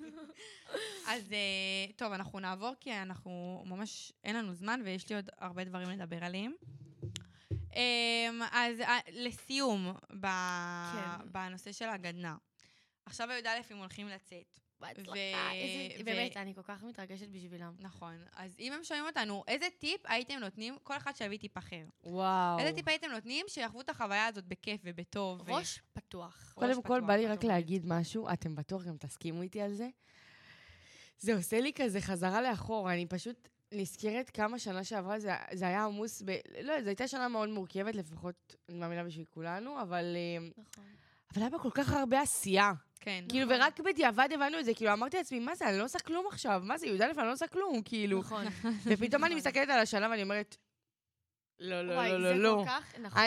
[SPEAKER 2] אז אה, טוב, אנחנו נעבור, כי אנחנו ממש, אין לנו זמן ויש לי עוד הרבה דברים לדבר עליהם. אמ, אז אה, לסיום, ב-
[SPEAKER 4] כן.
[SPEAKER 2] בנושא של הגדנ"ע. עכשיו י"א אם הולכים לצאת.
[SPEAKER 4] בהצלחה, איזה-
[SPEAKER 2] ו-
[SPEAKER 4] באמת, אני כל כך מתרגשת בשבילם.
[SPEAKER 2] נכון. אז אם הם שומעים אותנו, איזה טיפ הייתם נותנים, כל אחד שיביא טיפ אחר.
[SPEAKER 3] וואו.
[SPEAKER 2] איזה טיפ הייתם נותנים שיחוו את החוויה הזאת בכיף ובטוב. ו-
[SPEAKER 4] ראש פתוח.
[SPEAKER 2] ראש
[SPEAKER 3] קודם כל,
[SPEAKER 2] פתוח,
[SPEAKER 3] בא לי
[SPEAKER 2] את
[SPEAKER 3] רק
[SPEAKER 2] אומרת.
[SPEAKER 3] להגיד משהו, אתם בטוח גם תסכימו איתי על זה. זה עושה לי כזה חזרה לאחור, אני פשוט נזכרת כמה שנה שעברה זה, זה היה עמוס ב... לא, זו הייתה שנה מאוד מורכבת, לפחות, אני מאמינה בשביל כולנו, אבל, אה,
[SPEAKER 4] נכון.
[SPEAKER 3] אבל היה בה כל כך הרבה עשייה.
[SPEAKER 2] כן.
[SPEAKER 3] כאילו, ורק בדיעבד הבנו את זה, כאילו, אמרתי לעצמי, מה זה, אני לא עושה כלום עכשיו, מה זה, י"א, אני לא עושה כלום, כאילו.
[SPEAKER 4] נכון.
[SPEAKER 3] ופתאום אני מסתכלת על השנה ואני אומרת, לא, לא,
[SPEAKER 4] וואי,
[SPEAKER 3] לא,
[SPEAKER 4] זה
[SPEAKER 3] לא, לא.
[SPEAKER 4] כל כך, נכון.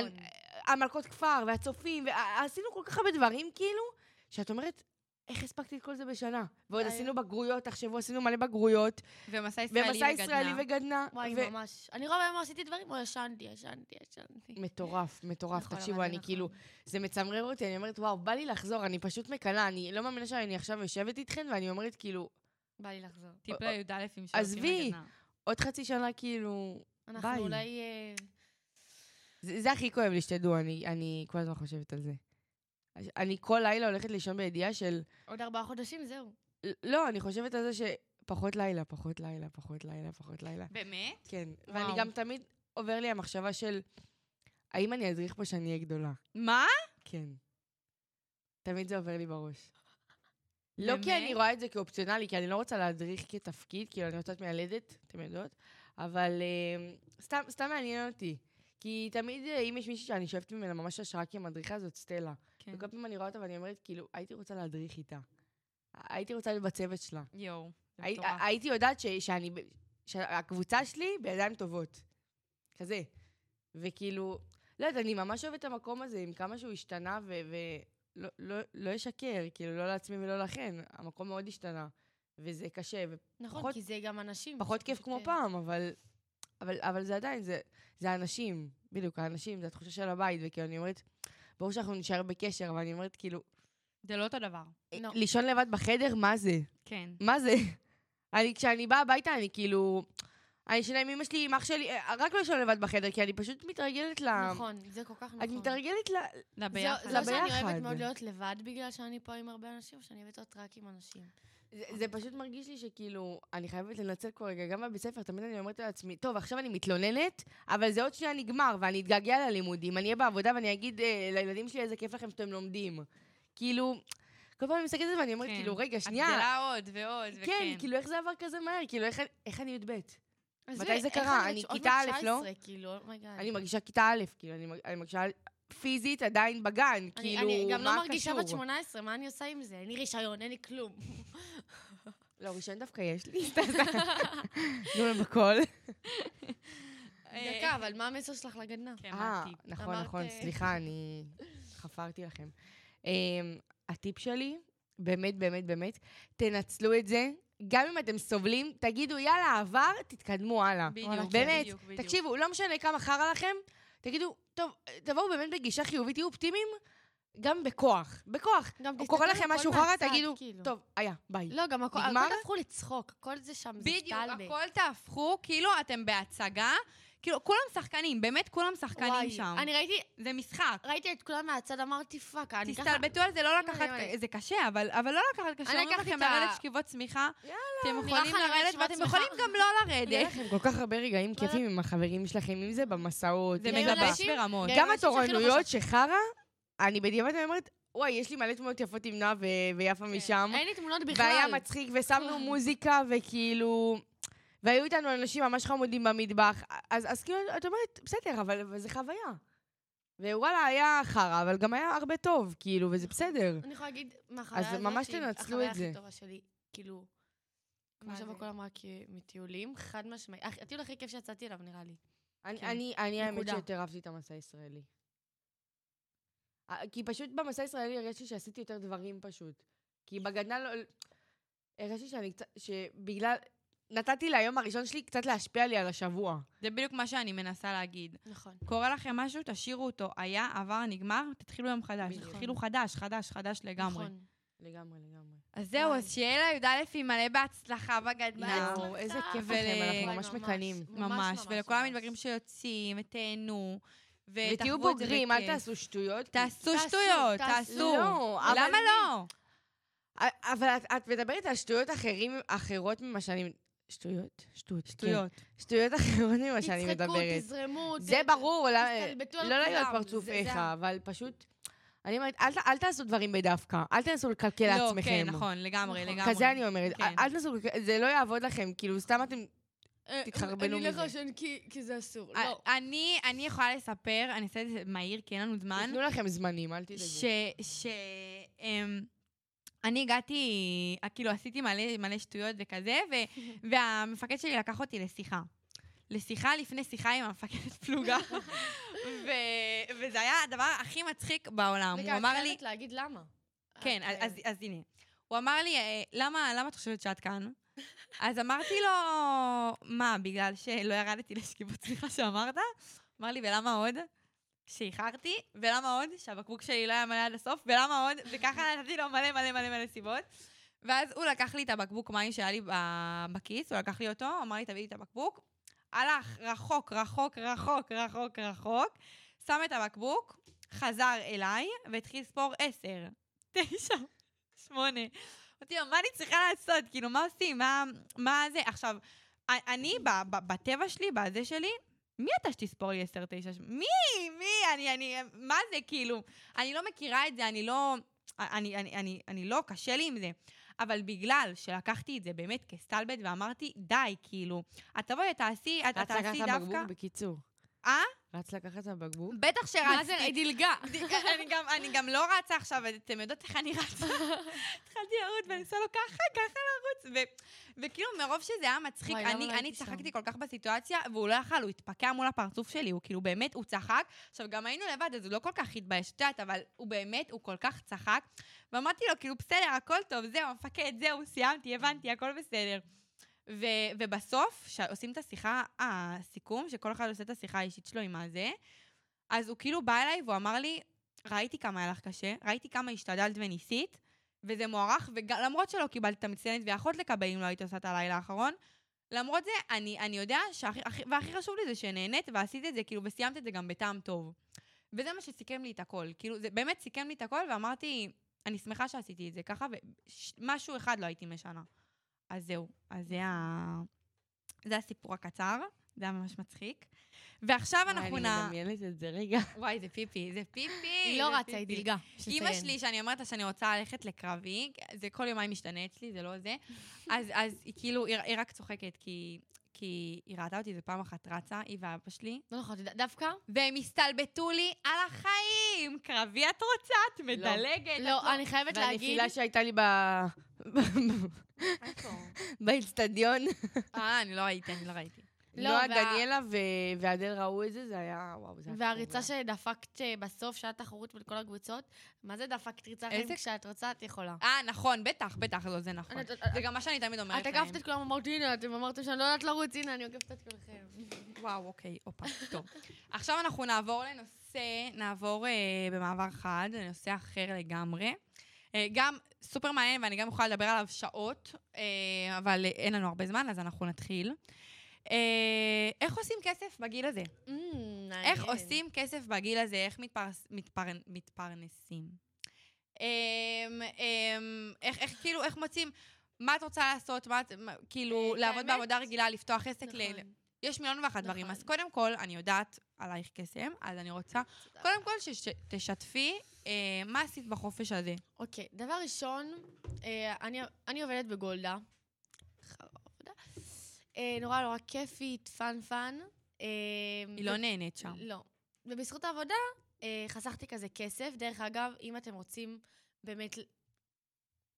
[SPEAKER 3] המלכות כפר והצופים, ועשינו כל כך הרבה דברים, כאילו, שאת אומרת, איך הספקתי את כל זה בשנה? ועוד
[SPEAKER 4] זה היה-
[SPEAKER 3] עשינו בגרויות, תחשבו, עשינו מלא בגרויות,
[SPEAKER 2] ומסע ישראלי
[SPEAKER 3] ומסע
[SPEAKER 2] וגדנ"ע.
[SPEAKER 3] ישראלי וגדנה.
[SPEAKER 4] וואי,
[SPEAKER 3] ו-
[SPEAKER 4] ממש. אני רואה מה עשיתי דברים, או ישנתי, ישנתי, ישנתי.
[SPEAKER 3] מטורף, מטורף,
[SPEAKER 4] נכון,
[SPEAKER 3] תקשיבו,
[SPEAKER 4] אבל זה
[SPEAKER 3] אני
[SPEAKER 4] נכון.
[SPEAKER 3] כאילו, זה מצמרר אותי, אני אומרת, וואו, בא לי לחזור, אני פשוט מקנאה, אני לא מאמינה שאני עכשיו יושבת איתכן, ואני אומרת, כאילו,
[SPEAKER 4] בא לי לחזור.
[SPEAKER 2] טיפ
[SPEAKER 3] אה, אה,
[SPEAKER 2] לי"א אם שהולכים
[SPEAKER 3] עזבי.
[SPEAKER 2] לגדנ"ע.
[SPEAKER 3] עוד חצי שנה, כאילו... ביי.
[SPEAKER 4] אנחנו אולי... אה,
[SPEAKER 3] זה, זה הכי כואב לי, שתדעו, אני, אני כל הזמן חושבת על זה. אני כל לילה הולכת לישון בידיעה של...
[SPEAKER 4] עוד ארבעה חודשים, זהו.
[SPEAKER 3] לא, אני חושבת על זה שפחות לילה, פחות לילה, פחות לילה, פחות לילה.
[SPEAKER 2] באמת?
[SPEAKER 3] כן,
[SPEAKER 2] וואו.
[SPEAKER 3] ואני גם תמיד עובר לי המחשבה של, האם אני אדריך פה שאני אהיה גדולה?
[SPEAKER 2] מה?
[SPEAKER 3] כן. תמיד זה עובר לי בראש. לא כי
[SPEAKER 2] באמת?
[SPEAKER 3] אני רואה את זה כאופציונלי, כי אני לא רוצה להדריך כתפקיד, כאילו אני יוצאת מהלדת, אתם יודעות, אבל אה, סתם, סתם מעניין אותי. כי תמיד, אה, אם יש מישהי שאני שואפת ממנה ממש השראה כמדריכה, זאת סטלה.
[SPEAKER 2] כן.
[SPEAKER 3] וכל פעם אני רואה אותה ואני אומרת, כאילו, הייתי רוצה להדריך איתה. הייתי רוצה להיות בצוות שלה.
[SPEAKER 2] יואו. זה
[SPEAKER 3] הי-
[SPEAKER 2] מטורף.
[SPEAKER 3] הייתי יודעת ש- שאני, ב- שהקבוצה שלי בידיים טובות. כזה. וכאילו, לא יודעת, אני ממש אוהבת את המקום הזה, עם כמה שהוא השתנה, ולא לא, לא אשקר, כאילו, לא לעצמי ולא לכן. המקום מאוד השתנה, וזה קשה,
[SPEAKER 4] נכון,
[SPEAKER 3] פחות-
[SPEAKER 4] כי זה גם אנשים.
[SPEAKER 3] ופחות
[SPEAKER 4] זה
[SPEAKER 3] כיף
[SPEAKER 4] פשוט,
[SPEAKER 3] כמו
[SPEAKER 4] אה,
[SPEAKER 3] פעם, אבל, אבל, אבל זה עדיין, זה, זה האנשים, בדיוק, האנשים, זה התחושה של הבית, וכאילו, אני אומרת, ברור שאנחנו נשאר בקשר, אבל אני אומרת, כאילו,
[SPEAKER 2] זה לא אותו דבר.
[SPEAKER 4] לא.
[SPEAKER 3] לישון לבד בחדר, מה זה?
[SPEAKER 2] כן.
[SPEAKER 3] מה זה? אני, כשאני באה הביתה, אני כאילו... אני ישנה עם אמא שלי, עם אח שלי, אה, רק לא ישנה לבד בחדר, כי אני פשוט מתרגלת ל...
[SPEAKER 4] נכון, זה כל כך נכון.
[SPEAKER 3] את מתרגלת ל...
[SPEAKER 2] לביחד.
[SPEAKER 4] זה או שאני
[SPEAKER 3] לביחד.
[SPEAKER 4] אוהבת מאוד להיות לבד בגלל שאני פה עם הרבה אנשים, או שאני אוהבת להיות רק עם אנשים.
[SPEAKER 3] זה- זה פשוט מרגיש לי שכאילו, אני חייבת לנצל כל רגע, גם בבית ספר, תמיד אני אומרת לעצמי, טוב, עכשיו אני מתלוננת, אבל זה עוד שנייה נגמר, ואני אתגעגע ללימודים, אני אהיה בעבודה ואני אגיד אה, לילדים שלי איזה כיף לכם שאתם לומדים. כאילו, כל פעם אני מסתכלת על זה ואני אומרת,
[SPEAKER 2] כן.
[SPEAKER 3] כאילו, רגע,
[SPEAKER 2] את
[SPEAKER 3] שנייה,
[SPEAKER 2] גדלה עוד ועוד, וכן.
[SPEAKER 3] כן, כאילו, איך זה עבר כזה מהר? כאילו, איך- איך אני י"ב? מתי
[SPEAKER 4] עזבי,
[SPEAKER 3] זה
[SPEAKER 4] איך
[SPEAKER 3] קרה?
[SPEAKER 4] יודעת
[SPEAKER 3] אני
[SPEAKER 4] שעוד
[SPEAKER 3] כיתה
[SPEAKER 4] מעט
[SPEAKER 3] א', לא?
[SPEAKER 4] 19, כאילו, אומייגאד.
[SPEAKER 3] אני מרגישה כיתה א', כאילו, אני, מרג- אני מרגישה פיזית עדיין בגן,
[SPEAKER 4] אני-
[SPEAKER 3] כאילו,
[SPEAKER 4] אני גם
[SPEAKER 3] מה
[SPEAKER 4] לא מרגישה
[SPEAKER 3] קשור?
[SPEAKER 4] בת 18, מה אני עושה עם זה? אין לי רישיון, אין לי כלום.
[SPEAKER 3] לא, ראשון דווקא יש לי. נו, בכל.
[SPEAKER 2] אה,
[SPEAKER 4] דקה, אבל מה המסר שלך לגדנה?
[SPEAKER 2] כן,
[SPEAKER 3] אה,
[SPEAKER 2] אמרתי.
[SPEAKER 3] נכון,
[SPEAKER 4] אמרת,
[SPEAKER 3] נכון,
[SPEAKER 4] אה.
[SPEAKER 3] סליחה, אני חפרתי לכם. אמ, הטיפ שלי, באמת, באמת, באמת, תנצלו את זה. גם אם אתם סובלים, תגידו, יאללה, עבר, תתקדמו הלאה.
[SPEAKER 2] בדיוק,
[SPEAKER 3] באמת,
[SPEAKER 2] בדיוק, בדיוק.
[SPEAKER 3] תקשיבו, לא משנה כמה חרא לכם, תגידו, טוב, תבואו באמת בגישה חיובית, תהיו אופטימיים, גם בכוח. בכוח.
[SPEAKER 4] גם
[SPEAKER 3] הוא
[SPEAKER 4] תסתכלו
[SPEAKER 3] קורא
[SPEAKER 4] על
[SPEAKER 3] לכם
[SPEAKER 4] הכל
[SPEAKER 3] משהו חרא,
[SPEAKER 4] מהצד,
[SPEAKER 3] תגידו,
[SPEAKER 4] כאילו.
[SPEAKER 3] טוב, היה, ביי.
[SPEAKER 4] לא, גם הכל,
[SPEAKER 3] נגמר?
[SPEAKER 4] הכל הפכו לצחוק, הכל זה שם, זה
[SPEAKER 2] בדיוק,
[SPEAKER 4] שטלבה.
[SPEAKER 2] הכל תהפכו, כאילו אתם בהצגה. כאילו, כולם שחקנים, באמת כולם שחקנים
[SPEAKER 4] וואי,
[SPEAKER 2] שם.
[SPEAKER 4] אני ראיתי,
[SPEAKER 2] זה משחק.
[SPEAKER 4] ראיתי את כולם מהצד, אמרתי פאק, אני ככה...
[SPEAKER 2] תסתלבטו על זה, לא
[SPEAKER 4] אימא'לה,
[SPEAKER 2] לקחת...
[SPEAKER 4] אימא'לה.
[SPEAKER 2] זה קשה, אבל אבל לא לקחת קשה.
[SPEAKER 4] אני
[SPEAKER 2] אומרים
[SPEAKER 4] לקחתי
[SPEAKER 2] לכם
[SPEAKER 4] את ה-
[SPEAKER 2] לרדת שכיבות צמיחה. יאללה. אתם
[SPEAKER 4] נראה לך
[SPEAKER 2] יכולים
[SPEAKER 4] לרדת
[SPEAKER 2] לרדת
[SPEAKER 4] שכיבות
[SPEAKER 2] ואתם
[SPEAKER 4] צמיחה?
[SPEAKER 2] יכולים גם לא לרדת.
[SPEAKER 3] יש לכם כל כך הרבה רגעים
[SPEAKER 4] לא
[SPEAKER 3] כיפים עם החברים שלכם, אם זה במסעות,
[SPEAKER 2] זה כן,
[SPEAKER 3] אם
[SPEAKER 4] היו
[SPEAKER 2] מגבש
[SPEAKER 4] אנשים-
[SPEAKER 2] ברמות.
[SPEAKER 4] היו
[SPEAKER 3] גם
[SPEAKER 4] אנשים שהכי לא
[SPEAKER 3] התורנויות
[SPEAKER 4] חשבתי.
[SPEAKER 3] שחרא, אני בדיעבד אני אומרת, וואי, יש לי מלא תמונות יפות עם נועה ו- ויפה משם.
[SPEAKER 4] כן. אין לי תמונות בכלל.
[SPEAKER 3] והיה מצחיק, ושמנו מוזיקה, וכאילו... והיו איתנו אנשים ממש חמודים במטבח. אז, אז כאילו, את אומרת, בסדר, אבל, אבל זה חוויה. ווואלה, היה חרא, אבל גם היה הרבה טוב, כאילו, וזה בסדר.
[SPEAKER 4] אני יכולה להגיד מהחוויה
[SPEAKER 3] אז
[SPEAKER 4] הזאת,
[SPEAKER 3] ממש
[SPEAKER 4] שהיא
[SPEAKER 3] תנצלו
[SPEAKER 4] החוויה
[SPEAKER 3] את זה.
[SPEAKER 4] הכי טובה שלי, כאילו, כמו
[SPEAKER 2] מה זה?
[SPEAKER 4] שבכל אמרה, כי מטיולים, חד משמעי. הכ- הטיול הכי כיף שיצאתי אליו, נראה לי.
[SPEAKER 3] אני,
[SPEAKER 4] כן.
[SPEAKER 3] אני, אני האמת
[SPEAKER 4] נקודה.
[SPEAKER 3] שיותר אהבתי את המסע הישראלי. אה, כי פשוט במסע הישראלי הרגשתי שעשיתי יותר דברים פשוט. כי בגדנה לא... הרגשתי שאני קצת, שבגלל, נתתי ליום הראשון שלי קצת להשפיע לי על השבוע.
[SPEAKER 2] זה בדיוק מה שאני מנסה להגיד.
[SPEAKER 4] נכון.
[SPEAKER 2] קורה לכם משהו, תשאירו אותו. היה, עבר, נגמר, תתחילו יום חדש.
[SPEAKER 3] בדיוק.
[SPEAKER 2] תתחילו חדש, חדש, חדש לגמרי.
[SPEAKER 4] נכון.
[SPEAKER 3] לגמרי, לגמרי.
[SPEAKER 2] אז זהו,
[SPEAKER 4] וואי.
[SPEAKER 2] אז שיהיה לי"א היא מלא בהצלחה בגדנ"ע.
[SPEAKER 4] בהצלחה.
[SPEAKER 3] וואו, איזה
[SPEAKER 4] הצלחה.
[SPEAKER 3] כיף
[SPEAKER 2] ול-
[SPEAKER 3] לכם, אנחנו
[SPEAKER 4] וואי,
[SPEAKER 3] ממש
[SPEAKER 4] אוקיי, ממש.
[SPEAKER 3] מקנאים.
[SPEAKER 2] ממש,
[SPEAKER 4] ממש,
[SPEAKER 2] ולכל
[SPEAKER 4] ממש.
[SPEAKER 2] המתבגרים שיוצאים, ותהנו.
[SPEAKER 3] ותהיו
[SPEAKER 2] ותחוו את זה
[SPEAKER 3] בוגרים, אל
[SPEAKER 2] בכיף.
[SPEAKER 3] תעשו שטויות.
[SPEAKER 2] תעשו
[SPEAKER 4] תעשו,
[SPEAKER 2] שטויות,
[SPEAKER 4] תעשו.
[SPEAKER 2] תעשו.
[SPEAKER 3] לא, אבל
[SPEAKER 2] למה
[SPEAKER 3] אני-
[SPEAKER 2] לא?
[SPEAKER 3] אה, אבל את, את מדברת על שטויות אחרים, אחרות ממה שאני... שטויות? שטויות.
[SPEAKER 2] שטויות.
[SPEAKER 3] כן. שטויות אחרות ממה שאני
[SPEAKER 4] תצחקו,
[SPEAKER 3] מדברת.
[SPEAKER 4] תזרמו.
[SPEAKER 3] זה
[SPEAKER 4] ת-
[SPEAKER 3] ברור, לא-
[SPEAKER 4] תסתלבטו על
[SPEAKER 3] לא להיות
[SPEAKER 4] כולם, זה-
[SPEAKER 3] פרצופיך,
[SPEAKER 4] זה ה-
[SPEAKER 3] אבל פשוט... אני אומרת, אל ת- אל תעשו דברים בדווקא, אל תנסו לקלקל
[SPEAKER 2] לא,
[SPEAKER 3] לעצמכם.
[SPEAKER 2] כן, נכון, לגמרי,
[SPEAKER 4] נכון.
[SPEAKER 2] לגמרי.
[SPEAKER 3] כזה אני אומרת,
[SPEAKER 2] כן.
[SPEAKER 3] אל- אל תנסו, זה לא יעבוד לכם, כאילו, סתם אתם...
[SPEAKER 4] אה,
[SPEAKER 3] תתחרבנו
[SPEAKER 4] אני
[SPEAKER 3] מזה. אה,
[SPEAKER 4] אלך לעשן כי- כי זה אסור. לא.
[SPEAKER 2] א- אני אני יכולה לספר, אני אעשה את זה מהיר, כי אין לנו זמן,
[SPEAKER 3] תנו לכם זמנים, אל תדאגו.
[SPEAKER 2] שאני אמ, הגעתי, אה, כאילו עשיתי מלא מלא שטויות וכזה, ו- והמפקד שלי לקח אותי לשיחה. לשיחה לפני שיחה עם המפקדת פלוגה, ו- וזה היה הדבר הכי מצחיק בעולם.
[SPEAKER 4] רגע,
[SPEAKER 2] הוא
[SPEAKER 4] את
[SPEAKER 2] אמר לי...
[SPEAKER 4] חייבת להגיד למה.
[SPEAKER 2] כן,
[SPEAKER 4] את,
[SPEAKER 2] אז, אז, אז הנה. הוא אמר לי, "אה, למה, למה את חושבת שאת כאן? אז אמרתי לו, מה, בגלל שלא ירדתי לשקיפות, סליחה שאמרת? אמר לי, ולמה עוד? שאיחרתי, ולמה עוד? שהבקבוק שלי לא היה מלא עד הסוף, ולמה עוד? וככה נתתי לו מלא מלא מלא מלא סיבות. ואז הוא לקח לי את הבקבוק מים שהיה לי ב- בכיס, הוא לקח לי אותו, הוא אמר לי, תביא לי את הבקבוק. הלך רחוק, רחוק, רחוק, רחוק, רחוק, שם את הבקבוק, חזר אליי, והתחיל לספור עשר, תשע, שמונה. אמרתי לו, מה אני צריכה לעשות? כאילו, מה עושים? מה, מה זה? עכשיו, א- אני, ב- ב- בטבע שלי, בזה שלי, מי אתה שתספור לי עשר, תשע? ש- מי? מי? אני, אני, מה זה, כאילו? אני לא מכירה את זה, אני לא... אני, אני, אני, אני לא, קשה לי עם זה. אבל בגלל שלקחתי את זה באמת כסטלבט ואמרתי, די, כאילו, את תבואי, תעשי, את את
[SPEAKER 3] רץ לקחת
[SPEAKER 2] תעשי
[SPEAKER 3] את הבקבוק,
[SPEAKER 2] דווקא...
[SPEAKER 3] בקיצור.
[SPEAKER 2] אה?
[SPEAKER 3] רץ לקחת את הבקבוק?
[SPEAKER 2] בטח
[SPEAKER 3] אה,
[SPEAKER 2] שרצתי.
[SPEAKER 4] מה זה, היא דילגה.
[SPEAKER 2] אני גם, אני גם לא רצה עכשיו, אתם יודעות איך אני רצה. התחלתי לרוץ ואני עושה לו ככה, ככה לרוץ. ו- וכאילו, מרוב שזה היה מצחיק,
[SPEAKER 4] וואי, למה
[SPEAKER 2] אני,
[SPEAKER 4] לא
[SPEAKER 2] אני
[SPEAKER 4] הייתי שם?
[SPEAKER 2] צחקתי כל כך בסיטואציה, והוא לא יכל, הוא התפקע מול הפרצוף שלי, הוא כאילו באמת, הוא צחק. עכשיו, גם היינו לבד, אז הוא לא כל כך התבייש, את יודעת, אבל הוא באמת, הוא כל כך צחק. ואמרתי לו, כאילו, בסדר, הכל טוב, זהו, המפקד, זהו, סיימתי, הבנתי, הכל בסדר. ו- ובסוף, כשעושים את השיחה, הסיכום, שכל אחד עושה את השיחה האישית שלו עם הזה, אז הוא כאילו בא אליי והוא אמר לי, ראיתי כמה היה לך קשה, ראיתי כמה השתדלת וניסית, וזה מוערך, ולמרות שלא קיבלת את המצטיינת ויכולת לקבל אם לא היית עושה את הלילה האחרון, למרות זה, אני, אני יודע שהכי, הכי- והכי חשוב לי זה שנהנית ועשית את זה, כאילו, וסיימת את זה גם בטעם טוב. וזה מה שסיכם לי את הכל. כאילו, זה באמת סיכם לי את הכל, ואמרתי, אני שמחה שעשיתי את זה ככה, ומשהו אחד לא הייתי משנה. אז זהו, אז זה, ה... זה הסיפור הקצר, זה היה ממש מצחיק. ועכשיו אנחנו
[SPEAKER 3] וואי,
[SPEAKER 2] נ...
[SPEAKER 3] אה, אני מדמיינת את זה רגע.
[SPEAKER 2] וואי, זה פיפי, זה פיפי.
[SPEAKER 4] היא לא
[SPEAKER 2] זה
[SPEAKER 4] רצה, היא
[SPEAKER 2] פיפי.
[SPEAKER 4] דילגה.
[SPEAKER 2] אימא
[SPEAKER 4] שתציין.
[SPEAKER 2] שלי, שאני אומרת לה שאני רוצה ללכת לקרבי, זה כל יומיים משתנה אצלי, זה לא זה. אז, אז היא כאילו, היא, היא רק צוחקת, כי, כי היא ראתה אותי איזה פעם אחת רצה, היא ואבא שלי,
[SPEAKER 4] לא נכון, תדע- דווקא?
[SPEAKER 2] והם הסתלבטו לי על החיים. קרבי את רוצה, את
[SPEAKER 3] כן,
[SPEAKER 2] מדלגת. את
[SPEAKER 3] נכון.
[SPEAKER 4] לא, אני חייבת להגיד...
[SPEAKER 3] והנפילה שהייתה לי ב- באיצטדיון,
[SPEAKER 2] אה, אני לא ראיתי, אני לא ראיתי.
[SPEAKER 4] לא,
[SPEAKER 3] נועה,
[SPEAKER 4] וה-
[SPEAKER 3] דניאלה ו- ואדל ראו את זה, זה היה, וואו, זה היה...
[SPEAKER 4] והריצה
[SPEAKER 3] קורע.
[SPEAKER 4] שדפקת אה, בסוף, שהיה תחרות בין כל הקבוצות, מה זה דפקת ריצה
[SPEAKER 2] איזה-
[SPEAKER 4] אחרת? כשאת רוצה, את יכולה.
[SPEAKER 2] אה, נכון, בטח, בטח, לא, זה נכון.
[SPEAKER 4] את- את-
[SPEAKER 2] זה גם מה שאני תמיד אומרת
[SPEAKER 4] את
[SPEAKER 2] להם.
[SPEAKER 4] עקפת את כולם, אמרת, הנה, אתם אמרתם שאני לא יודעת לרוץ, הנה, אני עוקפת את כולכם.
[SPEAKER 2] וואו, אוקיי, הופה, טוב. עכשיו אנחנו נעבור לנושא, נעבור אה, במעבר חד, לנושא אחר לגמרי. אה, גם סופר מעניין, ואני גם יכולה לדבר עליו שעות, אה, אבל אה, אין לנו הרבה זמן, אז אנחנו נתחיל. אה, איך עושים כסף בגיל הזה? איך עושים כסף בגיל הזה? איך מתפרס, מתפר, מתפרנסים? אמ, אמ, איך, איך כאילו, איך מוצאים, מה את רוצה לעשות? מה את, מה- כאילו,
[SPEAKER 4] אה,
[SPEAKER 2] לעבוד
[SPEAKER 4] האמת?
[SPEAKER 2] בעבודה רגילה, לפתוח עסק ל...
[SPEAKER 4] נכון.
[SPEAKER 2] יש מיליון ואחת דברים.
[SPEAKER 4] נכון.
[SPEAKER 2] אז קודם כל, אני יודעת עלייך קסם, אז אני רוצה, קודם כל, שתשתפי אה, מה עשית בחופש הזה.
[SPEAKER 4] אוקיי, דבר ראשון, אה, אני- אני עובדת בגולדה. אחר עבודה. אה, נורא נורא כיפית, פאן פאן. אה,
[SPEAKER 2] היא לא נהנית שם.
[SPEAKER 4] לא. ובזכות העבודה אה, חסכתי כזה כסף. דרך אגב, אם אתם רוצים באמת ל-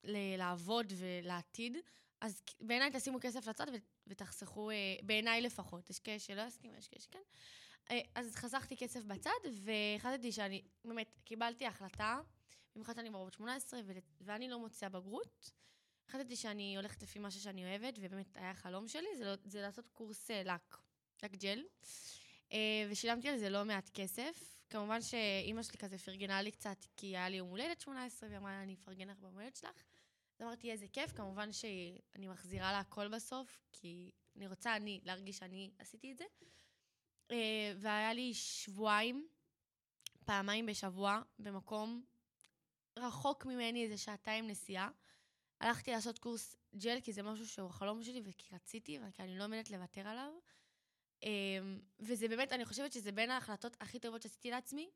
[SPEAKER 4] ל- לעבוד ולעתיד, אז כ- בעיניי תשימו כסף לצד ו- ותחסכו, אה, בעיניי לפחות. יש כאלה שלא יסכימו, יש כאלה שכן. אה, אז חסכתי כסף בצד, והחלטתי שאני, באמת, קיבלתי החלטה, במיוחד שאני כבר בת 18, ול- ואני לא מוציאה בגרות. החלטתי שאני הולכת לפי משהו שאני אוהבת, ובאמת היה חלום שלי, זה, לא, זה לעשות קורס אה, לק, לק ג'ל. אה, ושילמתי על זה לא מעט כסף. כמובן שאימא שלי כזה פרגנה לי קצת, כי היה לי יום הולדת 18, והיא אמרה, אני אפרגן לך ביום הולדת שלך. אז אמרתי, איזה כיף, כמובן שאני מחזירה לה הכל בסוף, כי אני רוצה אני להרגיש שאני עשיתי את זה. אה, והיה לי שבועיים, פעמיים בשבוע, במקום רחוק ממני איזה שעתיים נסיעה. הלכתי לעשות קורס ג'ל, כי זה משהו שהוא החלום שלי וכי רציתי, וכי אני לא עומדת לוותר עליו. אה, וזה באמת, אני חושבת שזה בין ההחלטות הכי טובות שעשיתי לעצמי,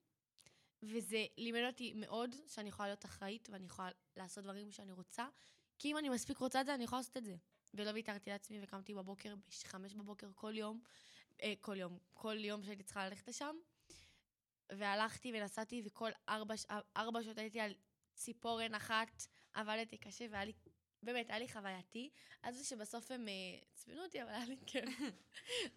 [SPEAKER 4] וזה לימד אותי מאוד שאני יכולה להיות אחראית ואני יכולה לעשות דברים שאני רוצה, כי אם אני מספיק רוצה את זה, אני יכולה לעשות את זה. ולא ויתרתי לעצמי וקמתי בבוקר, בחמש בבוקר כל יום, אה, כל יום, כל יום שהייתי צריכה ללכת לשם. והלכתי ונסעתי, וכל ארבע, ש- ארבע שעות הייתי על ציפורן אחת, עבדתי קשה, והיה לי, באמת, היה לי חווייתי. אז זה שבסוף הם אה, עצבנו אותי, אבל היה לי כן.